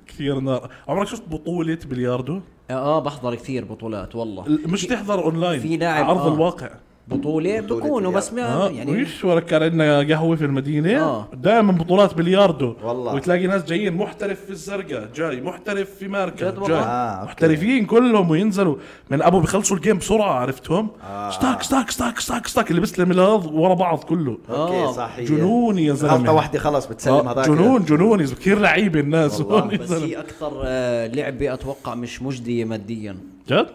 S1: كثير نار عمرك شفت بطوله بلياردو
S2: اه بحضر كثير بطولات والله
S1: ال- مش تحضر اونلاين
S2: في لاعب،
S1: على ارض
S2: آه.
S1: الواقع
S2: بطولة
S3: بطولة
S2: بكونوا بس ما
S1: اه
S2: يعني
S1: يعني ولا كان عندنا قهوه في المدينه
S2: آه.
S1: دائما بطولات بلياردو
S3: والله.
S1: وتلاقي ناس جايين محترف في الزرقاء جاي محترف في ماركه
S2: جد والله؟
S1: جاي
S3: آه، أوكي.
S1: محترفين كلهم وينزلوا من ابو بيخلصوا الجيم بسرعه عرفتهم
S3: آه.
S1: ستاك ستاك ستاك ستاك ستاك اللي بيسلم الهذا ورا بعض كله
S3: اوكي
S2: آه،
S3: صح هي.
S1: جنون يا
S3: غلطه
S1: زلمه
S3: واحده خلاص بتسلم
S1: آه،
S3: هذاك
S1: جنون جنون كثير لعيبه الناس
S3: والله،
S1: هون يا
S2: بس
S1: زلمة.
S2: هي اكثر آه، لعبة اتوقع مش مجدية ماديا
S1: جد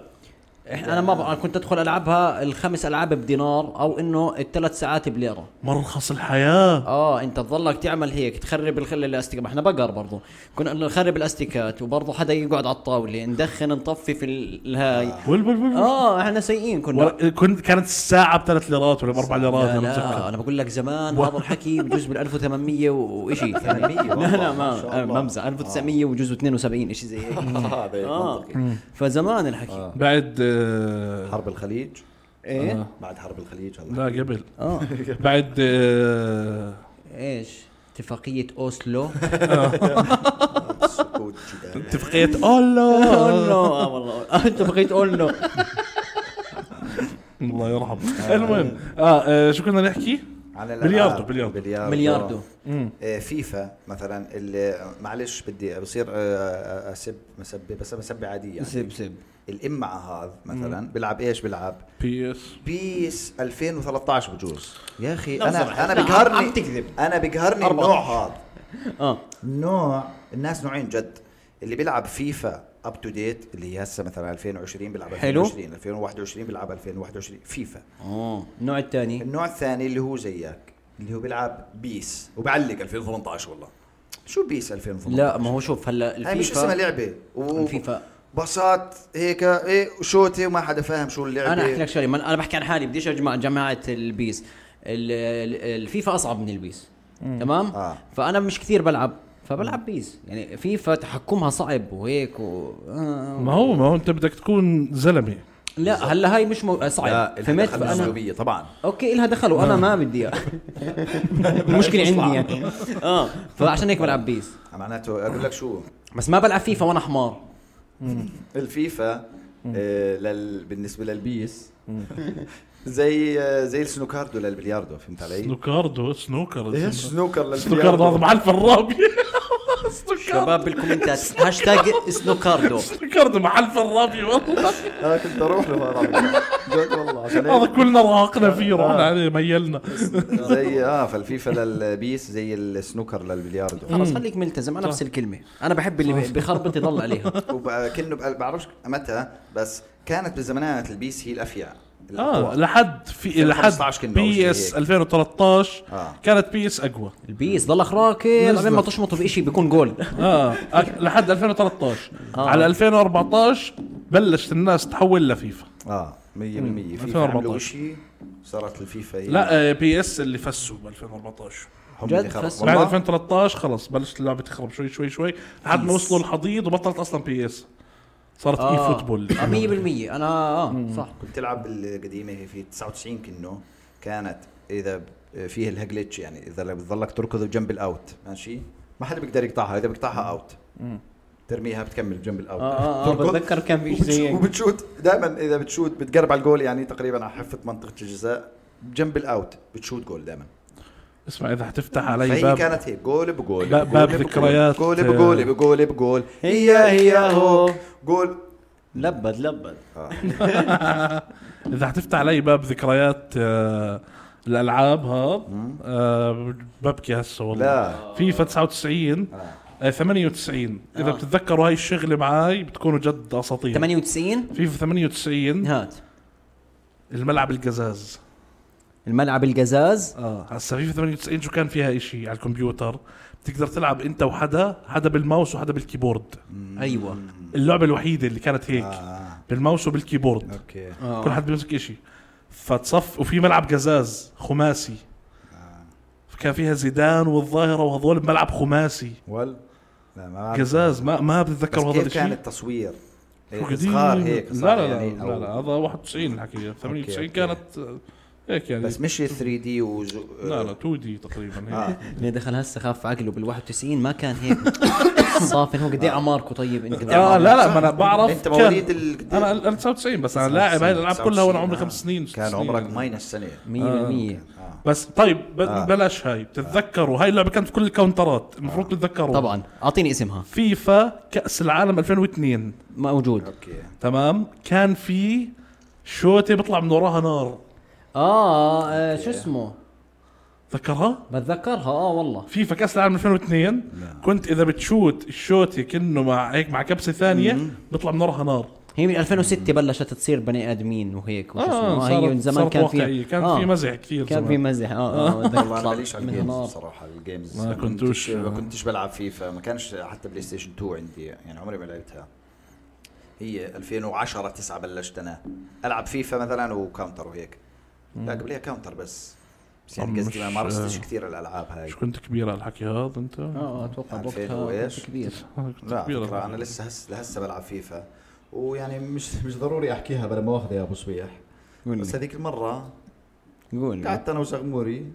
S2: احنا انا ما بقى كنت ادخل العبها الخمس العاب بدينار او انه الثلاث ساعات بليره
S1: مرخص الحياه
S2: اه انت تضلك تعمل هيك تخرب الخل الاستيكه ما احنا بقر برضو كنا نخرب الاستيكات وبرضو حدا يقعد على الطاوله ندخن نطفي في ال- الهاي
S1: وال- وال- وال-
S2: اه احنا سيئين كنا
S1: ولا- كنت كانت الساعه بثلاث ليرات ولا باربع ليرات
S2: لا,
S1: انا
S2: لا
S1: متذكر
S2: انا بقول لك زمان هذا الحكي بجوز بال 1800 وشيء يعني لا لا
S3: ما شاء
S2: ما
S3: الله.
S2: بمزح 1900 وجوز 72 شيء زي هيك
S3: آه، هذا
S2: اه
S3: منطقي.
S2: فزمان الحكي
S1: بعد آه،
S3: حرب الخليج
S2: ايه
S3: بعد حرب الخليج هلا
S1: لا قبل
S3: آه.
S2: اه
S1: بعد آه،
S2: ايش اتفاقيه اوسلو
S3: سكوت جدال
S1: اتفاقية الله
S2: اولو
S3: آه،
S2: اه والله انت بقيت اولو
S1: الله يرحم المهم اه آه، شو كنا نحكي؟
S3: عن الألعاب.
S1: بلياردو- بلياردو.
S3: بلياردو
S2: ملياردو
S3: آه، فيفا مثلا اللي معلش بدي بصير آه، آه، اسب مسبه بس مسبه عاديه يعني
S2: سب سب
S3: الامعة هذا مثلا بيلعب ايش بيلعب
S1: بي اس
S3: بيس 2013 بجوز يعني يا اخي
S2: لا بصراحة،
S3: انا انا
S2: لا،
S3: بقهرني
S2: عم تكذب.
S3: انا بقهرني
S2: أربعة.
S3: النوع هذا
S2: اه
S3: نوع الناس نوعين جد اللي بيلعب فيفا اب تو ديت اللي هي هسه مثلا 2020 بيلعب
S2: حلو.
S3: 2020 2021 بيلعب 2021 فيفا
S2: اه النوع الثاني
S3: النوع الثاني اللي هو زيك اللي هو بيلعب بيس وبعلق 2018 والله شو بيس 2018
S2: لا ما هو شوف هلا
S3: هاي مش
S2: الفيفا
S3: اسمها لعبه و-
S2: الفيفا.
S3: باصات هيك ايه وشوتي وما حدا فاهم شو اللعبه
S2: انا احكي لك شغله ما انا بحكي عن حالي بديش اجمع جماعه البيس ال- ال- الفيفا اصعب من البيس تمام
S3: آه.
S2: فانا مش كثير بلعب فبلعب بيس يعني فيفا تحكمها صعب وهيك و... آه.
S1: ما هو ما هو انت بدك تكون زلمه
S2: لا هلا هاي مش مو...
S3: لا
S2: صعب
S3: فهمت
S2: فهمت فانا
S3: فانا طبعا
S2: اوكي الها دخل
S3: آه.
S2: وانا ما بدي اياها المشكله عندي يعني اه فعشان هيك بلعب بيس
S3: معناته اقول لك شو
S2: بس ما بلعب فيفا وانا حمار
S3: الفيفا آه لل... بالنسبه للبيس زي آه زي السنوكاردو للبلياردو فهمت علي؟
S1: سنوكاردو سنوكر
S3: ايش سنوكر
S1: سنوكر هذا
S3: للبلياردو
S1: مع الف الرابي
S2: شباب بالكومنتات هاشتاج سنوكاردو
S1: سنوكاردو مع الف الرابي والله
S3: انا كنت اروح له هذا جد والله عشان هيك.
S1: هذا كلنا راقنا فيه رحنا عليه ميلنا
S3: زي اه فالفيفا للبيس زي السنوكر للبلياردو
S2: خلص خليك ملتزم انا نفس الكلمه انا بحب اللي بخربط يضل عليها
S3: وكنه بعرفش متى بس كانت بالزمانات البيس هي الافيع
S1: اه
S3: الأقوى.
S1: لحد في
S3: 2015
S1: لحد
S3: كنا أول شيء
S1: بي
S3: هيك.
S1: اس 2013
S3: آه.
S1: كانت بي اس اقوى
S2: البيس ضلك راكض لما تشمطه بشيء بيكون جول
S1: اه أك- لحد 2013
S3: آه.
S1: على 2014 بلشت الناس تحول لفيفا
S3: اه 100% فيفا
S1: 2014.
S3: عملوا شيء صارت الفيفا هي
S1: لا آه، بي اس اللي فسوا ب 2014
S3: هم
S2: جد
S3: اللي خربوا.
S2: خسروا.
S1: بعد
S3: والله
S1: 2013 خلص بلشت اللعبه تخرب شوي شوي شوي لحد ما وصلوا الحضيض وبطلت اصلا بي اس صارت
S3: آه.
S2: آه.
S1: اي فوتبول
S2: 100% انا اه صح
S3: كنت العب القديمه هي في 99 كنه كانت اذا ب- فيه لها جلتش يعني اذا لو بتضلك تركض بجنب الاوت ماشي ما حدا بيقدر يقطعها اذا بيقطعها اوت ترميها بتكمل جنب الاوت
S2: اه اه, آه
S3: تركض
S2: بتذكر كان في شيء
S3: وبتش-
S2: زي هيك.
S3: وبتشوت دائما اذا بتشوت بتقرب على الجول يعني تقريبا على حافه منطقه الجزاء جنب الاوت بتشوت جول دائما
S1: اسمع اذا حتفتح علي
S3: فهي
S1: باب
S3: كانت هيك جول بجول
S1: باب- باب
S3: بجول
S1: ذكريات.
S3: بجول بجول بجول بجول هي هي هو جول آه.
S2: لبد لبد
S1: اذا حتفتح علي باب ذكريات آه، الالعاب هاب آه، ببكي هسه والله
S3: لا.
S1: فيفا 99 آه، 98 اذا
S2: آه.
S1: بتتذكروا هاي الشغله معاي بتكونوا جد اساطير
S2: 98
S1: فيفا
S3: نعم.
S1: 98
S2: هات
S1: الملعب القزاز
S2: الملعب القزاز
S1: اه هسا فيفا 98 شو كان فيها إشي على الكمبيوتر بتقدر تلعب انت وحدا حدا بالماوس وحدا بالكيبورد
S2: ايوه
S1: اللعبه الوحيده اللي كانت هيك
S3: آه.
S1: بالماوس وبالكيبورد
S3: اوكي
S1: كل حد بيمسك إشي فتصف وفي ملعب قزاز خماسي
S3: آه.
S1: كان فيها زيدان والظاهره وهذول بملعب خماسي
S3: وال لا ما بعرف.
S1: قزاز ما ما
S3: آه. بس
S1: بتذكر هذا
S3: كيف كان
S1: الشيء
S3: التصوير
S1: شو
S3: هيك
S1: قديم؟
S3: صغار إيه، هيك
S1: لا
S3: صار
S1: لا
S3: يعني
S1: لا, لا, لا
S3: أو-
S1: هذا 91 الحكي 98
S3: أوكي.
S1: كانت آه، هيك يعني
S3: بس مش 3 دي وزو...
S1: لا لا 2 دي تقريبا هيك
S3: آه.
S2: اللي دخل هسه خاف عقله بال 91 ما كان هيك صافن هو قد ايه اعماركم طيب انت قد إيه
S1: اه
S2: أعماركم؟
S1: لا لا ما انا بعرف
S3: انت
S1: كان-
S3: يعني آه، مواليد ال
S1: انا انا 99 بس انا لاعب هاي الالعاب كلها وانا عمري خمس سنين ست
S3: آه. كان
S1: سنين
S3: عمرك
S1: يعني.
S3: ماينس سنه
S2: 100%
S1: بس طيب ب-
S3: آه.
S1: بلاش هاي بتتذكروا هاي اللعبه كانت في كل الكاونترات المفروض
S3: آه.
S1: تتذكروا
S2: طبعا اعطيني اسمها
S1: فيفا كاس العالم 2002
S2: موجود
S3: اوكي
S1: تمام كان في شوتي بيطلع من وراها نار
S2: اه, آه شو اسمه
S1: تذكرها
S2: بتذكرها اه والله
S1: فيفا كاس العالم 2002 كنت اذا بتشوت الشوتي كانه مع هيك مع كبسه ثانيه بيطلع من وراها نار
S2: هي من 2006 بلشت تصير بني ادمين وهيك وشو اسمه
S1: اه
S2: آه
S1: صارت
S2: هي من زمان كان
S1: في
S2: في آه،
S1: كان في مزح كثير
S2: كان في
S1: زمان.
S2: مزح اه اه بدك
S3: والله انا
S2: تطلع
S3: ماليش على
S2: منها
S3: الجيمز
S2: نار.
S3: صراحه الجيمز
S1: ما كنتوش-
S3: كنتش ما كنتش بلعب فيفا ما كانش حتى بلاي ستيشن 2 عندي يعني عمري ما لعبتها هي 2010 9 بلشت انا العب فيفا مثلا وكاونتر وهيك لا قبلها كاونتر بس بس
S1: طب
S3: يعني قصدي ما
S1: مش-
S3: مارستش كثير الالعاب هاي
S1: مش كنت كبير على الحكي هذا انت؟
S2: اه اتوقع
S3: عارفين
S2: بوقتها
S3: هو
S2: كنت
S3: إيش؟
S2: كبير
S1: كنت
S3: لا
S1: كبير
S3: فكرة انا لسه هس لسه بلعب فيفا ويعني مش مش ضروري احكيها بلا مؤاخذه يا ابو صبيح
S2: قول
S3: بس
S2: لي نعم.
S3: هذيك المره
S2: قول لي
S3: قعدت انا وزغموري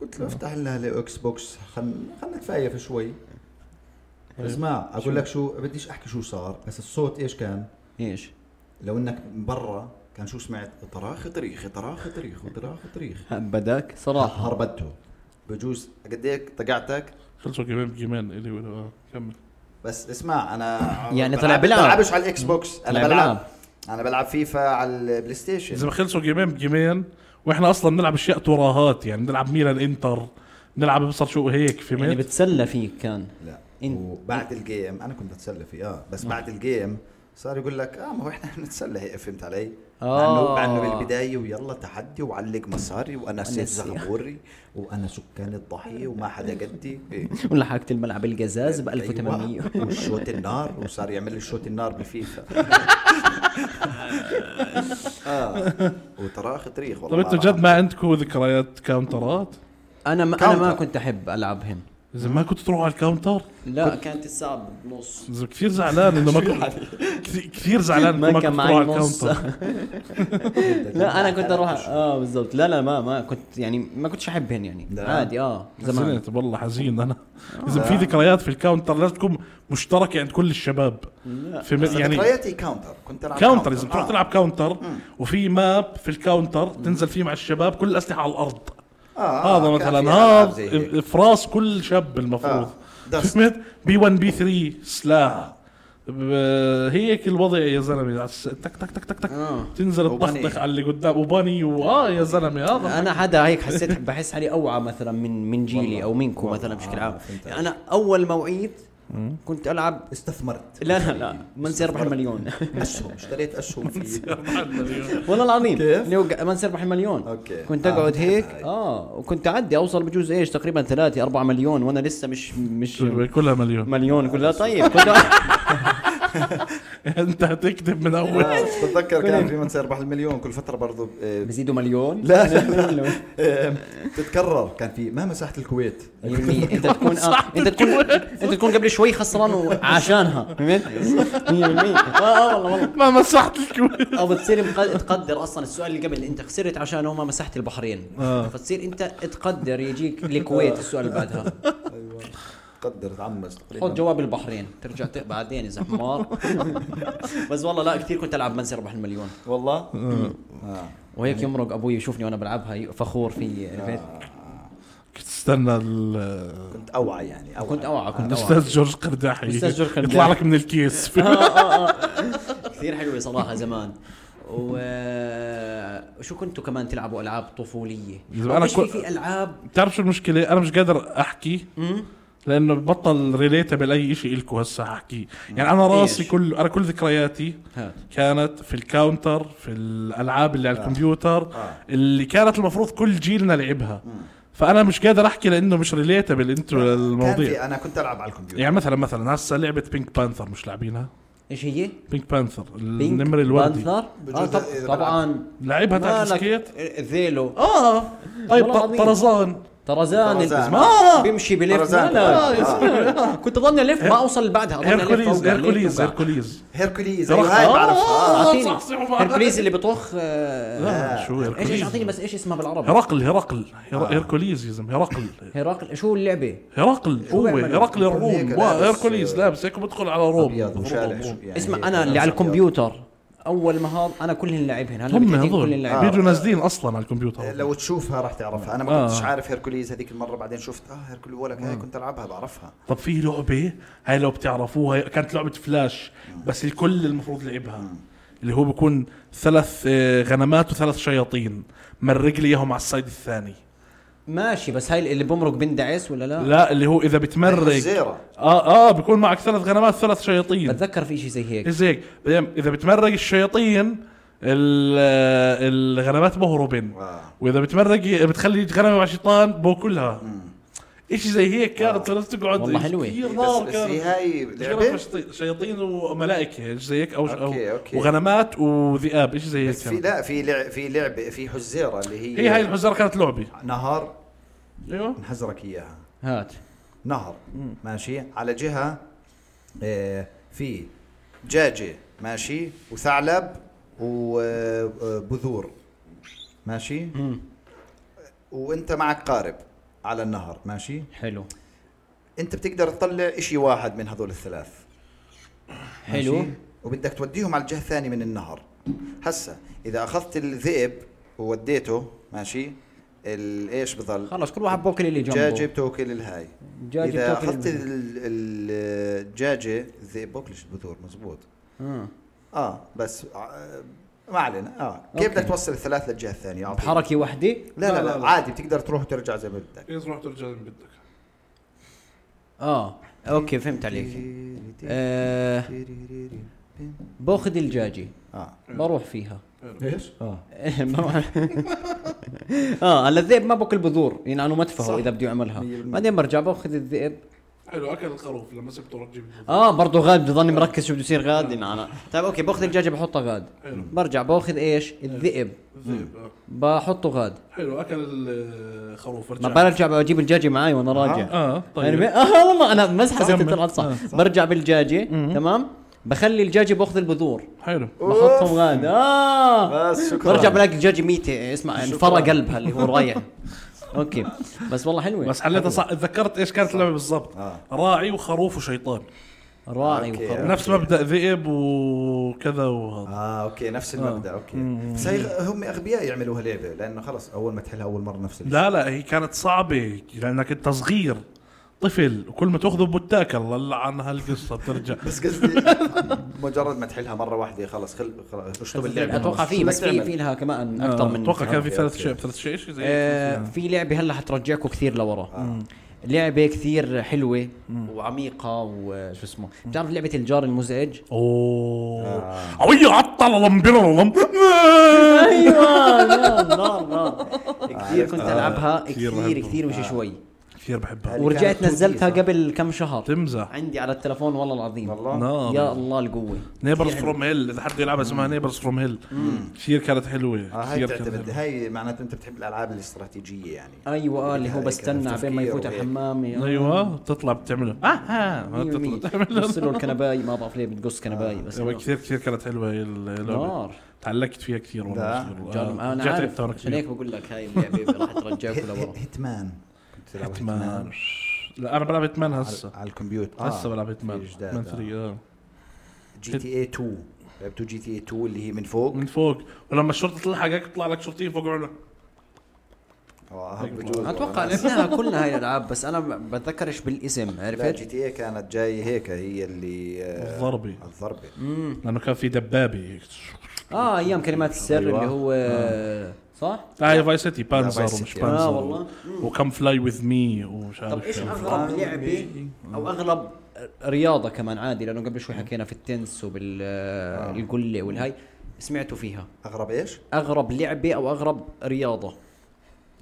S3: قلت
S2: نعم.
S3: له افتح لنا الاكس بوكس خلنا خلنا نتفايف شوي
S2: إيه.
S3: اسمع اقول لك شو بديش احكي شو صار بس الصوت ايش كان
S2: ايش؟
S3: لو انك برا كان شو سمعت طراخ طريخ طراخ طريخ طراخ طريخ
S2: بدك صراحه
S3: هربته بجوز قد ايه طقعتك
S1: خلصوا جيمين جيمين الي ولا آه، كمل
S3: بس اسمع انا
S2: يعني
S3: بلعب-
S2: طلع بلعب.
S3: بلعبش على الاكس بوكس
S2: طلع
S3: انا بلعب
S2: بلعب.
S3: انا بلعب فيفا على البلاي
S1: اذا
S3: ستيشن
S1: ما خلصوا جيمين بجيمين واحنا اصلا بنلعب اشياء تراهات يعني بنلعب ميلان انتر بنلعب بصر شو هيك في
S2: يعني
S1: ميت
S2: بتسلى فيك كان
S3: لا
S2: إن- آه.
S3: وبعد الجيم انا كنت بتسلى فيه اه بس بعد الجيم صار يقول لك اه ما هو احنا بنتسلى هيك فهمت علي؟ مع
S2: آه.
S3: انه مع انه بالبدايه ويلا تحدي وعلق مصاري وانا سيف
S2: نسي.
S3: زغبوري وانا سكان الضحيه وما حدا قدي إيه.
S2: ولحقت الملعب القزاز ب 1800
S3: أيوة. وشوت النار وصار يعمل لي شوت النار بالفيفا اه وتراخ تريخ
S1: طب
S3: والله
S1: انتوا طيب جد ما عندكم ذكريات كاونترات؟
S2: انا ما انا ما
S3: كاونتر.
S2: كنت احب العبهم
S1: اذا ما كنت تروحوا على الكاونتر
S2: لا كانت الساعه بنص
S1: إذا كثير زعلان انه ما كنت كثير- كثير زعلان انه ما كنت تروح على الكاونتر
S2: لا انا كنت اروح
S1: يعني
S2: اه بالضبط لا لا ما ما كنت يعني ما كنتش احبهن يعني
S3: لا.
S2: عادي اه زمان
S1: زعلت والله حزين انا اذا في ذكريات في الكاونتر لازم تكون مشتركه عند كل الشباب في م-
S3: يعني
S1: يعني
S3: ذكرياتي كاونتر كنت العب
S1: كاونتر اذا بتروح
S3: آه.
S1: تلعب كاونتر وفي ماب في الكاونتر تنزل فيه مع الشباب كل الاسلحه على الارض
S3: آه،
S1: هذا
S3: كان في
S1: مثلا
S3: ألعاب زي
S1: هذا
S3: هيك.
S1: افراس كل شاب المفروض
S3: آه، دست.
S1: فهمت بي 1 بي 3 سلاح ب- هيك الوضع يا زلمه على الس- تك تك تك تك تك
S2: آه.
S1: تنزل
S3: وبني. آه.
S1: تطخطخ على اللي قدام وباني واه يا زلمه هذا
S2: انا حدا هيك حسيت بحس حالي اوعى مثلا من من جيلي او منكم مثلا بشكل
S3: آه،
S2: عام يعني انا اول مواعيد كنت العب
S3: استثمرت
S2: لا لا لا منسي اربح المليون
S3: اسهم اشتريت اسهم في آه،
S2: والله العظيم
S3: كيف؟
S2: إني وقع- ما نصير بحي مليون
S3: أوكي.
S2: كنت
S3: آه،
S2: اقعد
S3: بتحب
S2: هيك
S3: هاي.
S2: اه وكنت اعدي اوصل بجوز ايش تقريبا 3 4 مليون وانا لسه مش مش
S1: كلها مليون
S2: مليون كلها طيب كنت
S1: انت هتكذب من اول
S3: آه، بتذكر كان في من سيربح المليون كل فتره برضو آه،
S2: بزيدوا مليون
S3: لا لا لا آم، تتكرر كان في ما مساحه الكويت
S2: يعني انت تكون آه انت تكون انت تكون قبل شوي خسران وعشانها فهمت؟ 100% اه اه والله والله
S1: ما مسحت الكويت
S2: او بتصير مق- تقدر اصلا السؤال اللي قبل اللي انت خسرت عشانه ما مسحت البحرين
S1: آه.
S2: فتصير انت تقدر يجيك الكويت السؤال اللي بعدها
S3: أيوة. قدر تعمس
S2: حط
S3: تقريبا
S2: جواب البحرين ترجع ت- بعدين اذا حمار بس والله لا كثير كنت العب منسي اربح المليون
S3: والله آه.
S2: وهيك يمرق ابوي يشوفني وانا بلعبها ي- فخور في عرفت
S1: كنت استنى ال-
S3: كنت اوعى يعني اوعى
S2: كنت اوعى كنت اوعى
S1: الاستاذ جورج قرداحي
S2: الأستاذ جورج قرداحي. أه.
S1: يطلع لك من الكيس
S2: آه، كثير حلوه صراحه زمان وشو كنتوا كمان تلعبوا العاب طفوليه؟
S1: إذا
S2: أو
S1: أنا
S2: إيش في
S1: كو-
S2: في العاب
S1: بتعرف شو المشكلة؟ أنا مش قادر أحكي لأنه بطل ريليتبل أي شيء إلكم هسه أحكي يعني أنا راسي
S2: إيش؟
S1: كل أنا كل ذكرياتي
S2: هات.
S1: كانت في الكاونتر في الألعاب اللي على الكمبيوتر اللي كانت المفروض كل جيلنا لعبها فأنا مش قادر أحكي لأنه مش ريليتبل أنتوا
S3: كان في أيوة.
S1: المواضيع
S3: انا كنت العب على الكمبيوتر
S1: يعني مثلا مثلا هسه لعبة بينك بانثر مش لاعبينها
S2: ايش هي؟
S1: بينك بانثر
S2: بينك
S1: النمر الوردي
S2: بانثر
S3: بجوز
S2: آه
S3: إذا
S2: طب
S3: بلعب.
S2: طبعا
S1: لعبها
S2: مالك
S1: تحت سكيت
S2: ذيلو
S1: اه طيب
S2: والله
S1: ط-
S2: العظيم.
S1: طرزان
S2: طرزان
S3: طرزان.
S2: الاسم
S1: آه.
S2: بيمشي بلف لا
S3: طرزان.
S1: آه،
S2: لا
S1: اسمه.
S2: آه. كنت اظن الف ما اوصل بعدها اظن الف
S1: هيركوليز
S2: أوقع،
S1: هيركوليز
S2: ليك
S1: هيركوليز طرخ.
S3: هيركوليز ايوه
S2: أوقع.
S3: هاي
S1: آه.
S3: بعرفها آه.
S2: اعطيني
S1: صح، صح، صح.
S2: هركليز اللي بطخ آه، آه.
S1: لا شو
S2: ايش ايش
S1: هيركوليز
S2: اعطيني بس ايش اسمها بالعربي
S1: هرقل هرقل هر- هيركوليز يا زلمه هرقل
S2: هرقل شو اللعبه
S1: هرقل هو
S2: بيعمل؟
S1: هرقل
S3: هيك
S1: الروم
S3: لابس،
S1: هيركوليز لابس هيك بدخل على روم
S3: ابيض وشالح شو- يعني
S2: اسمع
S3: هيك
S2: انا اللي
S3: لابس
S2: على
S3: أبيض.
S2: الكمبيوتر اول ما هذا انا كلهن لاعبهن هلا
S1: هم
S2: بتجيني كلهن
S1: هذول
S2: لاعبهن
S1: بيجوا نازلين اصلا على الكمبيوتر
S3: لو تشوفها راح تعرفها انا ما
S1: آه.
S3: كنتش عارف هيركوليز هذيك المره بعدين شفت اه هيركوليز ولا هاي كنت العبها بعرفها
S1: طب في لعبة هاي لو بتعرفوها كانت لعبة فلاش بس الكل المفروض لعبها اللي هو بيكون ثلاث آه، غنمات وثلاث شياطين مرق لي اياهم على الصيد الثاني
S2: ماشي بس هاي اللي بمرق بندعس ولا لا؟
S1: لا اللي هو اذا
S2: أيوة،
S3: أيوة،
S1: بتمرق
S3: الزيره
S1: اه اه بيكون معك ثلاث غنمات ثلاث شياطين
S2: بتذكر في شيء زي هيك
S1: زي هيك بعدين اذا بتمرق الشياطين ال- آه، الغنمات بهربن
S3: آه.
S1: واذا بتمرق بتخلي غنمة مع شيطان باكلها اشي زي هيك كانت لازم تقعد
S2: آه. والله حلوة.
S1: كثير
S3: بس,
S1: نار
S3: بس
S1: كانت.
S3: هي هاي
S1: شجرة
S3: لعبه
S1: شياطين- شياطين وملائكه شيء زي هيك او
S3: أوكي،
S1: أو-
S3: أوكي.
S1: وغنمات وذئاب شيء زي هيك
S3: بس في يعني.
S1: كان.
S3: لا في لع- في لعبه في حزيره اللي هي
S1: هي هاي الحزار كانت لعبه
S3: نهر
S1: ايوه
S3: نحزرك اياها
S2: هات
S3: نهر ماشي على جهه آه، في دجاجه ماشي وثعلب وبذور ماشي وانت معك قارب على النهر ماشي
S2: حلو
S3: انت بتقدر تطلع اشي واحد من هذول الثلاث
S2: حلو
S3: ماشي؟ وبدك توديهم على الجهه الثانيه من النهر هسا اذا اخذت الذئب ووديته ماشي ال- ايش بضل
S2: خلص كل واحد بوكل اللي جنبه
S3: دجاجه بتوكل الهاي
S2: دجاجة
S3: اذا
S2: بتوكل
S3: اخذت
S2: البذور.
S3: ال- ال- الدجاجه الذئب بوكلش البذور مزبوط
S2: آه.
S3: اه بس ع- ما علينا اه كيف
S2: أوكي.
S3: بدك توصل الثلاث للجهه الثانيه أعطيني.
S2: بحركه وحده
S3: لا لا لا عادي بتقدر تروح وترجع زي ما بدك
S1: اذا رحت ترجع بدك
S2: اه اوكي فهمت عليك آه باخذ الدجاجه
S3: اه
S2: بروح فيها
S3: ايش؟ اه
S2: بروح- اه هلا الذئب ما باكل بذور ينعنوا مدفعه
S1: صح.
S2: اذا بده يعملها
S3: مية بالمية.
S2: بعدين برجع باخذ الذئب
S1: حلو اكل الخروف لما سبته رجع
S2: اه برضه غاد بضل ظني مركز شو بده يصير غاد ينعنى طيب اوكي باخذ الدجاجه بحطها غاد
S1: حلو.
S2: برجع باخذ ايش الذئب
S1: الذئب
S2: بحطه غاد
S1: آه. حلو اكل الخروف
S2: ما برجع بجيب الدجاجه معي وانا راجع
S1: اه
S2: طيب.
S1: طيب
S2: اه والله انا مسحه زي
S1: كمل.
S2: طلعت صح
S1: آه،
S2: برجع بالدجاجه تمام بخلي الدجاجه باخذ البذور
S1: حلو
S2: بحطهم غاد اه
S3: بس شكرا
S2: برجع بلاقي الدجاجه ميته اسمع انفرى قلبها اللي هو رايح اوكي بس والله حلوه
S1: بس حليتها صح تذكرت ايش كانت اللعبه بالضبط
S3: آه.
S1: راعي وخروف وشيطان
S2: راعي
S3: أوكي.
S2: وخروف
S1: نفس مبدا ذئب وكذا وهذا
S3: اه اوكي نفس
S1: آه.
S3: المبدا اوكي بس هي هم اغبياء يعملوها لعبه لانه خلص اول ما تحلها اول مره نفس الشيء
S1: لا لا هي كانت صعبة لأنك أنت صغير طفل وكل ما تاخذه بتاكل الله عن هالقصة بترجع
S3: بس قصدي مجرد ما تحلها مره واحده خلص خل خلص اشطب اللعبه
S2: اتوقع
S3: خلص.
S2: في
S3: شو
S2: بس
S3: بدك
S2: في
S3: تعمل؟
S2: في لها كمان اكثر من
S1: آه، أتوقع كان في
S3: أوكي،
S1: ثلاث
S3: أوكي.
S1: شيء ثلاث شيء شيء زي
S2: آه،
S1: هيك.
S2: في لعبه هلا حترجعكم كثير
S1: آه.
S2: لورا لعبه كثير حلوه وعميقه وشو اسمه بتعرف لعبه الجار المزعج
S1: أوه عوية عطل لم بلا لم
S2: ايوه نار نار كثير كنت العبها
S1: آه، كثير
S2: كثير
S1: بحبها. آه.
S2: كثير مش شوي
S1: كثير بحبها
S3: هل-
S2: ورجعت
S3: كانت
S2: نزلتها
S3: لذيذة.
S2: قبل كم شهر
S1: تمزح
S2: عندي على التلفون والله العظيم
S3: والله
S2: يا
S1: نار
S2: الله القوه
S1: نيبرز فروم هيل إذا حد يلعبها اسمها نيبرز فروم هيل كثير كانت
S3: آه
S1: حلوة
S3: هاي
S1: كثير كانت
S3: تعتمد
S1: حلوة.
S3: هاي معناته انت بتحب الالعاب الاستراتيجيه يعني
S2: ايوه آه، اللي هو
S3: هيك
S2: بستنى بين ما
S3: تفكير
S2: يفوت
S3: وهيك.
S2: الحمام يا
S1: أيوه بتطلع بتعمله آه آه ما بتطلع بتعمله
S2: بصيروا الكنباي ما بعرف ليه بتقص كنباي بس
S1: أيوة، كثير كثير كانت حلوة هي اللعبة
S2: نار
S1: تعلقت فيها كثير
S3: لا،
S1: والله صغير.
S2: جرب
S1: آه،
S2: انا
S1: رجعت
S2: عارف
S1: لعبتها وأنا
S2: عشان
S1: كبير.
S2: هيك بقول لك هاي اللعبه راح ترجعك لورا
S3: هيت- هيتمان كنت تلعب
S1: هيتمان لا انا بلعب هيتمان هسه
S3: على الكمبيوتر آه.
S1: هسه بلعب هيتمان
S3: في جداد،
S1: هيتمان
S3: آه.
S1: 3 اه
S3: جي تي اي 2 لعبتوا جي تي اي 2 اللي هي من فوق
S1: من فوق ولما الشرطه تلحقك يطلع لك شرطيين فوق عنك
S3: آه، بجوز
S2: اتوقع لعبناها كلها هاي الالعاب بس انا ب- بتذكرش بالاسم
S3: لا جي
S2: عرفت؟
S3: تي اي كانت جاي هيك هي اللي آه،
S1: الضربة.
S3: الضربه
S1: لانه كان في دبابه هيك
S2: اه ايام كلمات السر
S3: أيوة. آه.
S2: اللي هو صح؟
S1: لا هي فاي سيتي
S3: لا،
S1: بانزر
S3: فاي
S1: ومش
S3: سيتي.
S1: بانزر
S2: آه، والله.
S1: وكم فلاي وذ مي ومش
S2: طب
S1: عارف
S2: ايش
S1: شو.
S2: اغرب لعبه او اغرب رياضه كمان عادي لانه قبل شوي حكينا في التنس
S3: آه.
S2: وبالقله والهاي سمعتوا فيها
S3: اغرب ايش؟
S2: اغرب لعبه او اغرب رياضه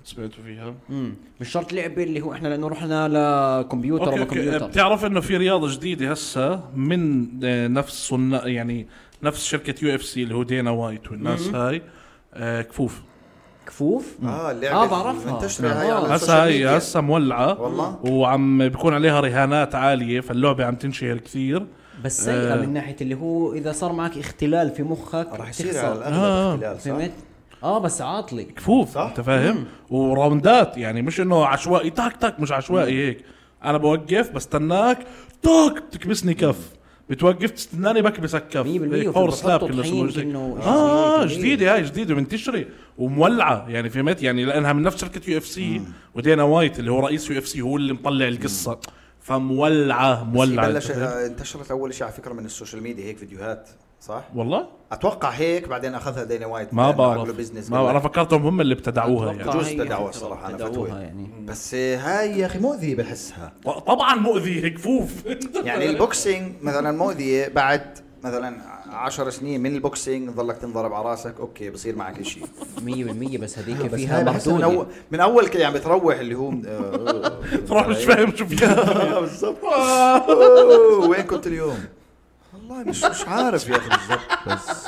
S1: سمعتوا فيها
S2: امم مش شرط لعبه اللي هو احنا لانه رحنا لكمبيوتر
S1: اوكي
S2: ولا
S1: اوكي
S2: كمبيوتر
S1: بتعرف انه في رياضه جديده هسه من آه، نفس صناع يعني نفس شركه يو اف سي اللي هو دينا وايت والناس هاي آه، كفوف
S2: كفوف
S3: اه اللعبه
S2: آه، بعرفها.
S3: منتشره
S2: آه.
S3: هاي على
S1: هسا
S3: السوشيال
S1: هي
S3: ميديا.
S1: هسا مولعه
S3: والله.
S1: وعم بيكون عليها رهانات عاليه فاللعبه عم تنشهر كثير
S2: بس سيئه من ناحيه اللي هو اذا صار معك اختلال في مخك
S3: آه. راح يصير
S2: تخسر.
S3: على
S1: آه.
S3: الاغلب اختلال
S2: فهمت؟
S3: صح؟
S2: اه بس عاطلي
S1: كفوف
S3: صح.
S1: انت فاهم وراوندات يعني مش انه عشوائي تاك تاك مش عشوائي هيك انا بوقف بستناك تاك بتكبسني كف بتوقف تستناني بكبسك كف
S2: 100%
S1: هيك
S2: وفي
S1: باور
S2: الخط
S1: سلاب كله
S2: وطحين
S1: اسمه شيء.
S2: كأنه شيء
S1: اه
S2: كبير.
S1: جديده هاي جديده منتشره ومولعه يعني فهمت يعني لانها من نفس شركه يو اف سي ودينا وايت اللي هو رئيس يو اف سي هو اللي مطلع القصه فمولعه مولعه
S3: بلش آه،
S1: أنت فاهم؟
S3: انتشرت اول شيء على فكره من السوشيال ميديا هيك فيديوهات صح؟
S1: والله
S3: اتوقع هيك بعدين اخذها دينا وايت
S1: ما
S3: لأنه
S1: بعرف
S3: عملوا business
S1: ما
S3: قبل.
S1: بعرف فكرتهم هم اللي ابتدعوها يعني
S2: أتوقع
S3: بجوز
S2: هي
S3: تدعوها
S2: فترة
S3: الصراحة، أنا
S2: تدعوها
S3: فتوى.
S2: يعني
S3: بس آه، هاي يا اخي مؤذيه بحسها
S1: طبعا يعني. مؤذي كفوف
S3: يعني البوكسينج مثلا مؤذيه بعد مثلا عشر سنين من البوكسينج ضلك تنضرب على راسك اوكي بصير معك شيء
S2: 100% بس هذيك
S3: بس
S2: فيها
S3: هاي بحس من اول
S2: محدود
S3: من اول كده يعني بتروح اللي هو
S1: تروح مش
S3: أيوة.
S1: فاهم شو فيها
S3: آه، بالضبط أوه، وين كنت اليوم؟ والله مش مش عارف يا اخي بالضبط بس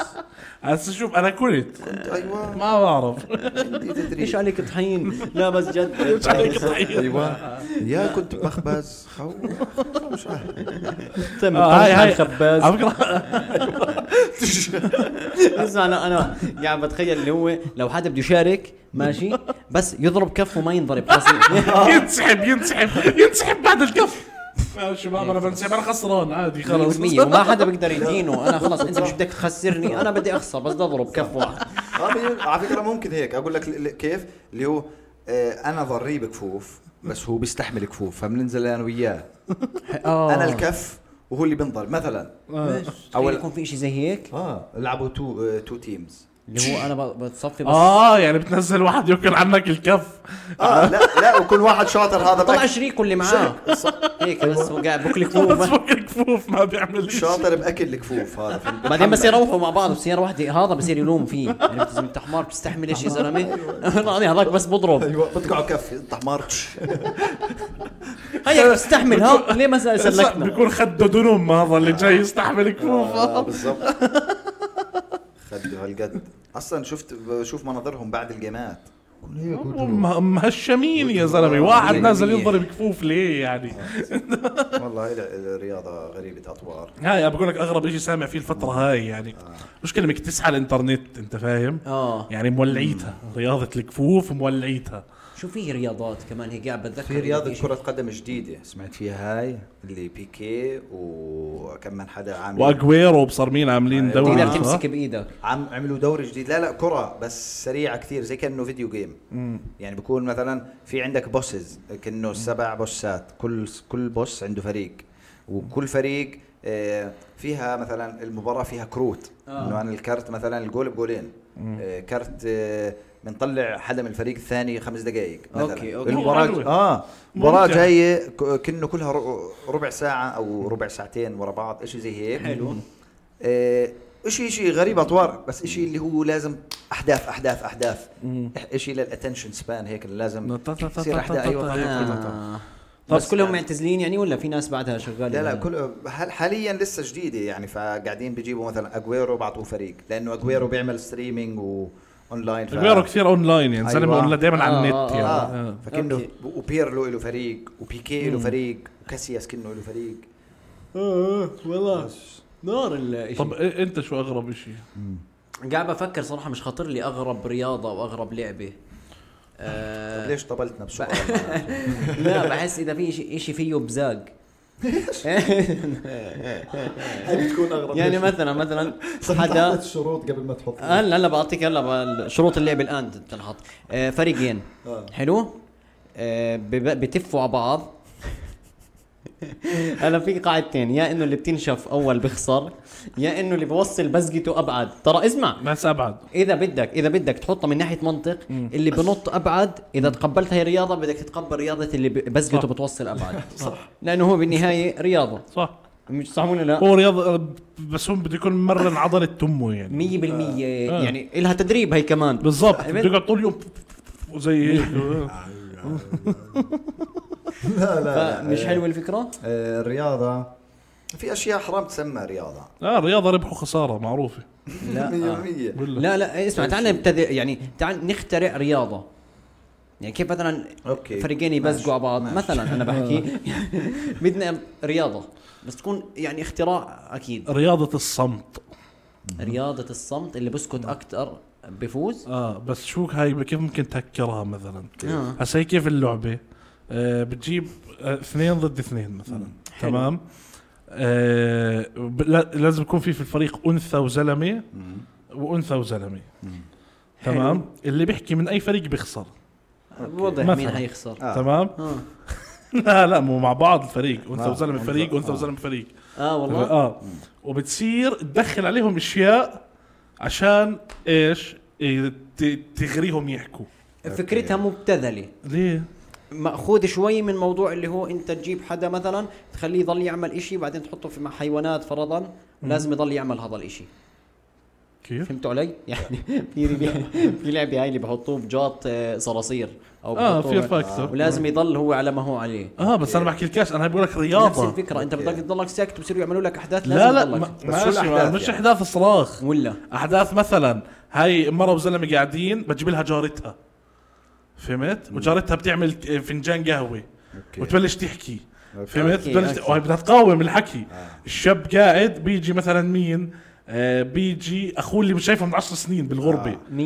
S1: هسه شوف انا كنت
S3: كنت ايوه
S1: ما بعرف
S3: عندي
S2: ايش
S3: تدريب
S2: عليك طحين لا بس جد
S1: أيوة.
S3: ايوه يا كنت بخبز خو مش عارف
S2: تم
S1: آه، هاي هاي
S2: خباز
S1: على فكره
S2: اسمع انا انا يعني بتخيل اللي هو لو حدا بده يشارك ماشي بس يضرب كف وما ينضرب خلاص
S1: آه. ينسحب ينسحب ينسحب بعد الكف يا شباب انا بنسحب انا خسران عادي خلص
S2: 100% وما حدا بيقدر يدينه انا خلاص انت مش بدك تخسرني انا بدي اخسر بس بدي اضرب كف واحد
S3: آه، بي- على فكره ممكن هيك اقول لك ل- ل- كيف اللي هو آه، انا ضريه بكفوف بس هو بيستحمل كفوف فبننزل انا وياه
S1: آه.
S2: آه.
S3: انا الكف وهو اللي بينضرب مثلا
S2: اول
S3: أول-
S2: يكون في شيء زي هيك
S3: اه لعبوا تو آه، تو تيمز
S2: اللي هو انا ب- بتصفي بس
S1: اه يعني بتنزل واحد ياكل عنك الكف
S3: اه لا لا وكل واحد شاطر هذا
S2: آه. طلع
S3: باك
S2: شريكه اللي معاه هيك بس هو قاعد بكل
S1: بس
S2: كفوف
S1: فك كفوف ما بيعمل شيء
S3: شاطر باكل الكفوف هذا فهمت؟
S2: بعدين بس يروحوا مع بعض بسيارة واحدة هذا بصير يلوم فيه يعني عرفت زلمة، انت حمار بتستحمل ايش يا زلمة؟ يعني هذاك بس بضرب
S3: ايوه بتقعوا كف انت حمار
S2: هيا بتستحمل ها ليه ما سلكنا؟
S1: بيكون خده دنم هذا اللي جاي يستحمل
S3: آه،
S1: كفوف
S3: بالضبط خدوا هالقد اصلا شفت بشوف مناظرهم بعد الجيمات
S1: مه- مهشمين يا زلمه واحد نازل يضرب كفوف ليه يعني
S3: والله ال- الرياضه غريبه اطوار
S1: هاي بقول لك اغرب شيء سامع فيه الفتره هاي يعني مشكله انك تسعى الانترنت انت فاهم
S2: اه
S1: يعني مولعيتها رياضه الكفوف مولعيتها
S2: شو في رياضات كمان هيك قاعد بتذكر
S3: في رياضة
S2: إيش-
S3: كرة قدم جديدة سمعت فيها هاي اللي بيكي وكم من حدا عامل
S1: واجويرو وبصر مين عاملين
S3: أيوة.
S1: دوري
S2: تقدر
S1: صح؟
S2: تمسك بايدك
S3: عم عملوا دوري جديد لا لا كرة بس سريعة كثير زي كأنه فيديو جيم يعني بكون مثلا في عندك بوسز كأنه سبع بوسات كل كل بوس عنده فريق وكل فريق آه، فيها مثلا المباراة فيها كروت
S2: آه.
S3: انه انا الكرت مثلا الجول بجولين آه، كرت آه، بنطلع حدا من الفريق الثاني خمس دقائق مثلا
S2: أوكي، أوكي.
S3: المباراة
S1: حلوة.
S3: اه مباراة
S1: ممتع.
S3: جاية ك- كأنه كلها ر- ربع ساعة او ربع ساعتين ورا بعض اشي زي هيك
S2: حلو
S3: آه، اشي اشي غريب اطوار بس اشي اللي هو لازم احداث احداث احداث إح- اشي للاتنشن سبان هيك اللي لازم
S1: تا- تا- تا- تا-
S3: يصير
S1: تا-
S3: احداث ايوه
S2: آه.
S1: طب
S2: بس كلهم
S3: يعني-
S2: معتزلين يعني ولا في ناس بعدها شغالين
S3: لا لا كل هل- حاليا لسه جديده يعني فقاعدين بيجيبوا مثلا اجويرو بعطوه فريق لانه اجويرو بيعمل ستريمينج واونلاين ف...
S1: اجويرو كثير اونلاين يعني زلمه
S3: أيوة.
S1: اونلاين دائما على
S2: آه،
S1: النت
S2: آه،
S1: يعني
S3: اه
S1: آه.
S3: فكنه
S2: أوكي.
S3: وبيرلو له فريق وبيكي له فريق وكاسياس كنه له فريق
S2: آه، آه، والله نار الشيء
S1: طب إيه- انت شو اغرب شيء؟
S2: قاعد بفكر صراحه مش خاطر لي اغرب رياضه واغرب لعبه
S3: طب
S2: آه
S3: ليش طبلتنا بسؤال
S2: لا بحس اذا في شيء شيء فيه بزاق
S3: بتكون اغرب
S2: يعني مثلا مثلا حدا
S3: الشروط قبل ما تحط
S2: هلا هلا بعطيك هلا بقى شروط اللعب الان تنحط آه، فريقين حلو آه، بب- بتفوا على بعض هلا في قاعدتين يا انه اللي بتنشف اول بخسر يا انه اللي بوصل بزقته ابعد ترى اسمع
S1: بس ابعد
S2: اذا بدك اذا بدك تحطها من ناحيه منطق اللي بنط ابعد اذا تقبلت هي رياضه بدك تتقبل رياضه اللي ب- بزقته
S1: صح.
S2: بتوصل ابعد صح لانه هو بالنهايه رياضه
S1: صح
S2: مش صح ولا لا
S1: هو رياضه بس هو بده يكون مرن عضله تمه يعني
S2: 100% يعني لها تدريب هي كمان
S1: بالضبط
S2: أمين.
S1: بده يقعد طول اليوم وزي هيك
S3: لا لا
S2: فمش حلوه الفكره
S3: آه، الرياضة في اشياء حرام تسمى رياضه
S1: اه الرياضه ربح وخساره معروفه
S2: لا آه.
S3: 100%
S1: بالله
S2: لا لا اسمع تعال نبتدئ يعني تعال نخترع رياضه يعني كيف مثلا
S3: اوكي
S2: فريقين يبزقوا على بعض مثلا انا بحكي بدنا رياضه بس تكون يعني اختراع اكيد
S1: رياضه الصمت
S2: رياضه الصمت اللي بسكت اكثر بفوز
S1: اه بس شو هاي كيف ممكن تهكرها مثلا
S2: آه.
S1: هسا هي كيف اللعبه آه بتجيب آه اثنين ضد اثنين مثلا
S2: حلو.
S1: تمام آه ب- لا- لازم يكون في في الفريق انثى وزلمه وانثى وزلمه تمام اللي بيحكي من اي فريق بيخسر
S2: واضح
S1: مثلاً.
S2: مين حيخسر
S3: آه.
S1: تمام
S2: اه,
S1: لا لا مو مع بعض الفريق انثى
S3: آه،
S1: وزلمه
S3: أنثى-
S1: فريق وانثى
S3: آه.
S1: وزلمه فريق
S2: آه والله
S1: اه وبتصير تدخل عليهم اشياء عشان ايش إيه، ت- تغريهم يحكوا
S2: فكرتها مبتذله
S1: ليه
S2: ماخوذ شوي من موضوع اللي هو انت تجيب حدا مثلا تخليه يضل يعمل إشي بعدين تحطه في مع حيوانات فرضا لازم يضل يعمل هذا الإشي
S1: كيف
S2: فهمتوا علي؟ يعني في في لعبه هاي اللي بحطوه بجاط آه، صراصير او
S1: اه
S2: بحطوه-
S1: فير فاكتور
S2: ولازم يضل هو على ما هو عليه
S1: اه بس انا بحكي الكاش انا بقول لك
S2: آه. نفس
S1: رياضه
S2: الفكره انت
S3: أوكي.
S2: بدك تضلك ساكت بصيروا يعملوا لك احداث
S1: لا
S2: لازم
S1: لا
S2: تضلك.
S1: ما-
S3: بس شو
S1: ماشي ما-
S3: الأحداث
S1: مش
S3: يعني؟
S1: احداث صراخ
S2: ولا
S1: احداث مثلا هاي مره وزلمه قاعدين بتجيب لها جارتها فهمت وجارتها بتعمل فنجان قهوه وتبلش تحكي فهمت
S2: أوكي،
S1: بتبلش
S2: أوكي.
S1: وهي بدها تقاوم الحكي
S3: آه.
S1: الشاب قاعد بيجي مثلا مين آه بيجي اخوه اللي مش شايفه من 10 سنين بالغربه
S2: 100%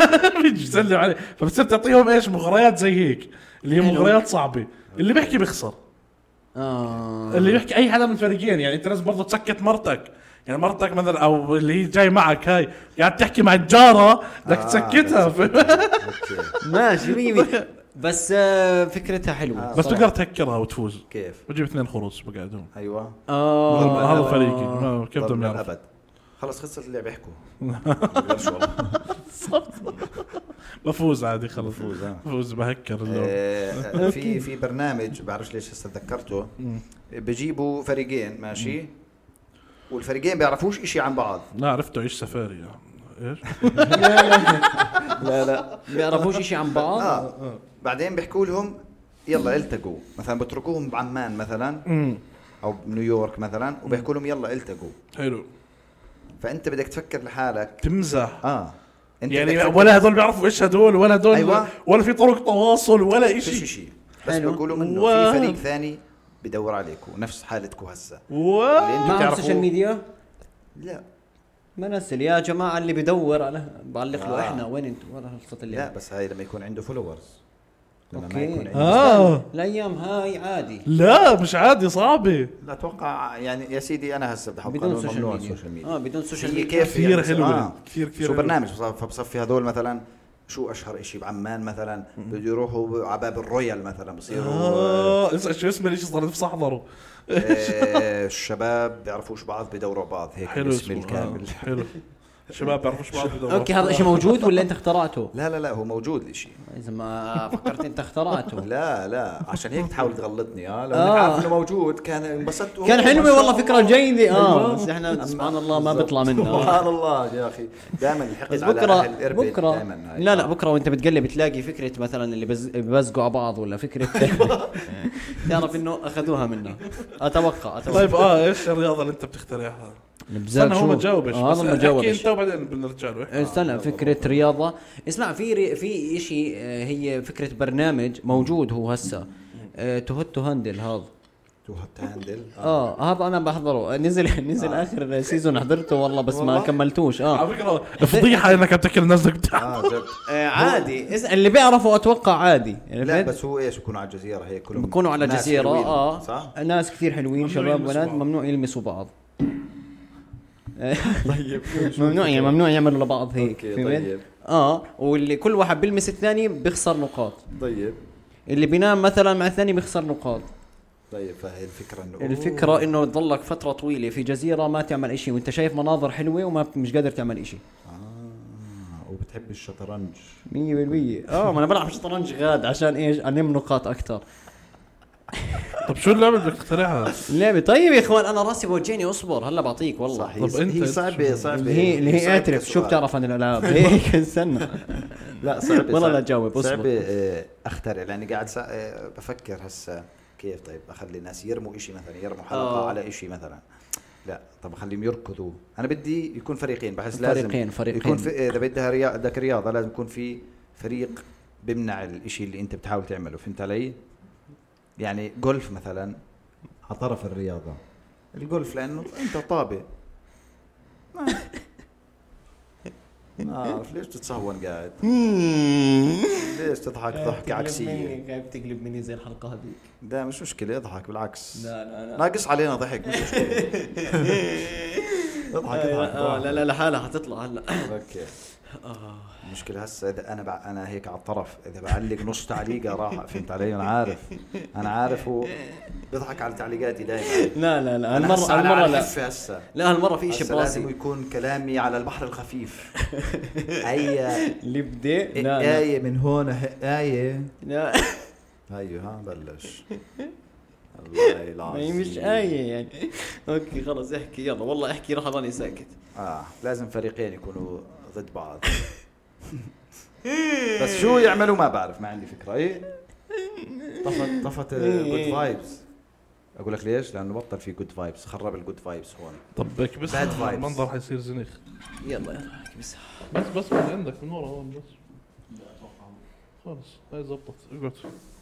S1: بيجي يسلم عليه فبتصير تعطيهم ايش مغريات زي هيك اللي هي
S2: حلو.
S1: مغريات صعبه اللي بيحكي بيخسر
S2: اه
S1: اللي يحكي اي حدا من الفريقين يعني انت لازم برضه تسكت مرتك يعني مرتك مثلا او اللي هي جاي معك هاي قاعد تحكي مع الجاره بدك
S3: آه،
S1: تسكتها فاهم؟
S2: ماشي 100% بس آه، فكرتها حلوه
S3: آه،
S1: بس
S2: صراحة.
S1: تقدر تهكرها وتفوز
S3: كيف
S1: بجيب اثنين خروص بقعدهم
S3: ايوه
S2: اه
S1: هذا فريقي ما- كيف
S3: طب
S1: بدهم يعرفوا
S3: للأبد. خلص خلصت اللعبه احكوا بقدرش والله.
S1: بفوز عادي خلص
S3: بفوز، آه.
S1: بفوز بهكر اللعبة.
S3: آه، في في برنامج بعرفش ليش هسه تذكرته بجيبوا فريقين ماشي والفريقين بيعرفوش اشي عن بعض
S1: لا عرفته ايش سفاري يعني. ايش
S3: لا لا
S2: بيعرفوش شيء عن بعض
S1: آه،
S3: اه بعدين بيحكوا لهم يلا التقوا مثلا بتركوهم بعمان مثلا
S1: أمم.
S3: او بنيويورك مثلا وبيحكوا لهم يلا التقوا
S1: حلو
S3: فانت بدك تفكر لحالك
S1: تمزح
S3: اه انت بدك
S1: يعني
S3: تفكر
S1: ولا هدول بيعرفوا ايش هدول ولا هدول
S3: أيوة.
S1: ولا في طرق تواصل ولا
S3: فيش
S1: شيء
S3: شيء بس
S2: حلو.
S3: بقولوا انه
S1: واو.
S3: في فريق ثاني بدور عليكم نفس حالتكم هسه
S1: آه.
S3: اللي انتم
S2: ما على
S3: بتعرفوه
S2: السوشيال ميديا
S3: لا
S2: ما نزل يا جماعه اللي بدور على بعلق له
S3: آه.
S2: احنا وين انتم ولا خلصت
S3: لا
S2: اللعبه
S3: بس هاي لما يكون عنده فولورز لما ما
S2: أوكي.
S3: يكون عنده
S1: اه
S2: الايام هاي عادي
S1: لا مش عادي صعبه
S3: لا اتوقع يعني يا سيدي انا هسه بدي احط
S2: بدون
S3: قانون
S2: سوشيال
S3: ممنوع
S2: ميديا.
S3: السوشيال ميديا
S2: آه، بدون سوشيال
S3: هي
S2: ميديا.
S3: كيف
S1: كثير
S3: يعني
S1: حلوة
S3: آه.
S1: هي. كثير- كثير
S3: شو
S1: حلوة.
S3: برنامج بصف- فبصفي هذول مثلا شو اشهر اشي بعمان مثلا بده يروحوا على باب الرويال مثلا بصيروا آه.
S1: اه اسمع شو اسمه ليش صار نفسي احضره
S3: آه الشباب بيعرفوش بعض بدوروا بعض هيك
S1: حلو
S3: الاسم
S1: اسمه
S3: إيه، الكامل
S1: آه، حلو شباب بيعرفوش بعض بدوروا.
S2: اوكي هذا شيء موجود ولا انت اخترعته؟
S3: لا لا لا هو موجود الاشي
S2: اذا ما فكرت انت اخترعته
S3: لا لا عشان هيك تحاول تغلطني اه لو
S2: آه.
S3: آه. عارف انه موجود كان انبسطت
S2: كان
S3: ما
S2: حلوه
S3: شاء
S2: والله
S3: الله.
S2: فكره جيده اه
S3: أيوة.
S2: بس احنا
S3: أما-
S2: سبحان الله ما
S3: بالضبط.
S2: بيطلع منا
S3: سبحان الله يا اخي دائما الحقد
S2: بس
S3: على
S2: بكره
S3: أهل إربد
S2: بكره
S3: دايماً هاي.
S2: لا لا
S3: آه.
S2: بكره وانت بتقلب تلاقي فكره مثلا اللي بز- بزقوا على بعض ولا فكره
S3: أيوة.
S2: تعرف انه اخذوها منا اتوقع اتوقع
S1: طيب اه ايش الرياضه اللي انت بتخترعها؟
S2: نبزال
S1: استنى هو
S2: شو
S1: ما جاوبش
S2: آه، هذا ما
S1: احكي
S2: جاوبش
S1: انت وبعدين بنرجع له
S2: استنى فكرة رياضة اسمع في ري... في شيء هي فكرة برنامج موجود هو هسا آه، تهت تو هاندل هذا
S3: تو هات هاندل
S2: اه هذا انا بحضره نزل نزل اخر سيزون حضرته والله بس ما
S3: آه. والله؟
S2: كملتوش
S3: آه.
S2: اه
S1: على فكره فضيحه انك عم تحكي للناس انك بتحضر.
S3: اه جد
S2: آه، عادي اس- اللي بيعرفه اتوقع عادي
S3: لا
S2: عرفت؟
S3: بس هو ايش بكونوا على الجزيره هيك كلهم
S2: بكونوا على
S3: ناس
S2: جزيرة
S3: حلوين،
S2: اه
S3: صح؟
S2: ناس كثير حلوين
S1: ممنوع
S2: شباب
S1: يلمسوا
S2: بنات
S1: بعض.
S2: ممنوع يلمسوا بعض طيب ممنوع يعني ممنوع يعملوا لبعض هيك
S3: أوكي،
S2: فهمت؟
S3: طيب.
S2: اه واللي كل واحد بيلمس الثاني بيخسر نقاط
S3: طيب
S2: اللي بينام مثلا مع الثاني بيخسر نقاط
S3: طيب فهي الفكره انه
S2: الفكرة انه تضلك فترة طويلة في جزيرة ما تعمل اشي وانت شايف مناظر حلوة وما مش قادر تعمل اشي
S3: اه وبتحب الشطرنج
S2: 100% اه ما انا بلعب شطرنج غاد عشان ايش؟ انم نقاط اكثر
S1: طب شو اللعبه اللي بدك تخترعها؟
S2: اللعبة طيب يا اخوان انا راسي بوجعني اصبر هلا بعطيك والله
S3: صح
S1: طب
S3: طب
S1: أنت
S3: انت هي صعبه صعبه
S2: اللي هي اللي هي
S3: صعبة
S2: اعترف شو
S3: كسؤال.
S2: بتعرف عن الالعاب هيك استنى
S3: لا صعبه
S2: والله
S3: صعبة.
S2: لا تجاوب، اصبر.
S3: يعني صعبه آه، اخترع لاني قاعد سا- آه، بفكر هسه كيف طيب اخلي الناس يرموا إشي مثلا يرموا
S2: آه.
S3: حلقه على إشي مثلا لا طب اخليهم يركضوا انا بدي يكون فريقين بحس لازم
S2: فريقين فريقين
S3: يكون في آه، اذا بدها رياضه بدك رياضه لازم يكون في فريق بيمنع الإشي اللي انت بتحاول تعمله فهمت علي يعني جولف مثلا على طرف الرياضه الجولف لانه انت طابه ما ما اعرف ليش تتصهون قاعد ليش تضحك ضحكه عكسيه
S4: قاعد بتقلب آه، مني زي الحلقه هذيك
S3: ده مش مشكله اضحك بالعكس
S4: لا لا لا
S3: ناقص علينا ضحك مش مشكله اضحك اضحك
S4: اه لا لا لحالها حتطلع هلا آه.
S3: اوكي المشكلة هسه اذا انا بع... انا هيك على الطرف اذا بعلق نص تعليقة راح فهمت علي انا عارف انا عارف هو بيضحك على تعليقاتي دائما
S4: لا لا لا
S3: انا
S4: هالمره
S3: هسه على
S4: هالمره لا
S3: الخف هسه
S4: لا هالمره في شيء
S3: هسه لازم
S4: براسي
S3: يكون كلامي على البحر الخفيف اي
S4: اللي بدي لا لا
S3: آية من هون آية
S4: لا
S3: هيو أيوة، ها بلش الله
S4: ما
S3: العظيم
S4: هي مش آية يعني اوكي خلص احكي يلا والله احكي راح اضلني ساكت
S3: اه لازم فريقين يكونوا ضد بعض بس شو يعملوا ما بعرف ما عندي فكره اي طفت طفت
S4: إيه.
S3: جود فايبس اقول لك ليش؟ لانه بطل في جود فايبس خرب الجود فايبس هون
S1: طب هيك بس
S3: Bad vibes.
S1: المنظر حيصير زنخ
S4: يلا يلا احكي بس
S1: بس بس من عندك من ورا هون بس خلص هاي زبطت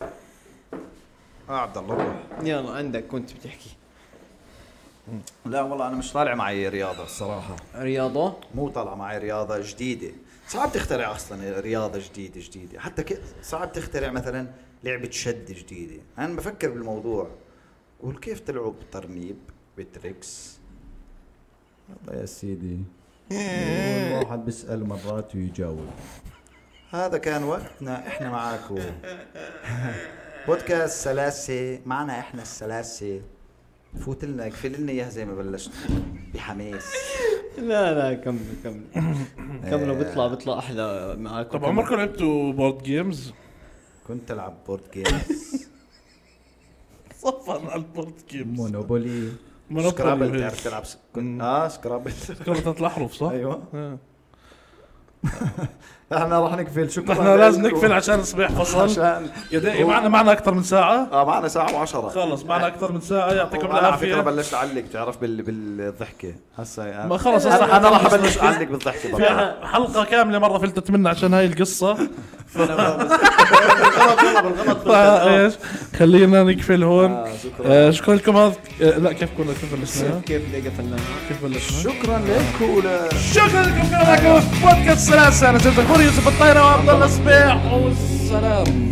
S1: اقعد
S3: اه عبد الله روح
S4: يلا عندك كنت بتحكي
S3: لا والله انا مش طالع معي رياضه الصراحه
S2: رياضه
S3: مو طالعه معي رياضه جديده صعب تخترع اصلا رياضه جديده جديده حتى ك... صعب تخترع مثلا لعبه شد جديده انا بفكر بالموضوع قول كيف تلعب ترنيب بتريكس يلا يا سيدي الواحد بيسال مرات ويجاوب هذا كان وقتنا احنا معاكم بودكاست سلاسه معنا احنا السلاسه فوت لنا اقفل لنا اياها زي ما بلشنا بحماس
S4: لا لا كمل كمل كملوا بيطلع بيطلع احلى معاكم
S1: طب عمركم لعبتوا بورد جيمز؟
S3: كنت العب بورد جيمز
S1: صفر على البورد جيمز
S3: مونوبولي
S1: مونوبولي.
S3: سكرابل بتعرف تلعب س...
S1: مم.
S3: كنت... اه سكرابل
S1: كانوا ثلاث احرف صح؟
S3: ايوه
S1: آه.
S3: احنا راح نقفل شكرا
S1: احنا لازم
S3: لكم.
S1: نقفل عشان الصبح فصل
S3: عشان
S1: يا دقي معنا معنا اكثر من ساعه
S3: اه معنا ساعه و10
S1: خلص معنا اكثر من ساعه يعطيكم
S3: انا على فكره
S1: العافيه
S3: بلشت اعلق تعرف بال... بالضحكه هسه
S1: ما خلص
S3: أنا-
S1: هسه
S3: انا راح ابلش اعلق بالضحكه
S1: في
S3: برضه.
S1: ح- حلقه كامله مره فلتت منا عشان هاي القصه
S4: بالغلط
S1: فايش خلينا نقفل هون
S3: آه، شكراً.
S1: آه، شكرا لكم هذا آه، لا كيف كنا كيف بلشنا
S4: كيف ليه قفلناها
S1: كيف بلشنا
S3: شكرا لكم ولا
S1: شكرا لكم كلامكم بودكاست سلاسه انا سيد الخوري يوسف الطيره وعبد الله صبيح والسلام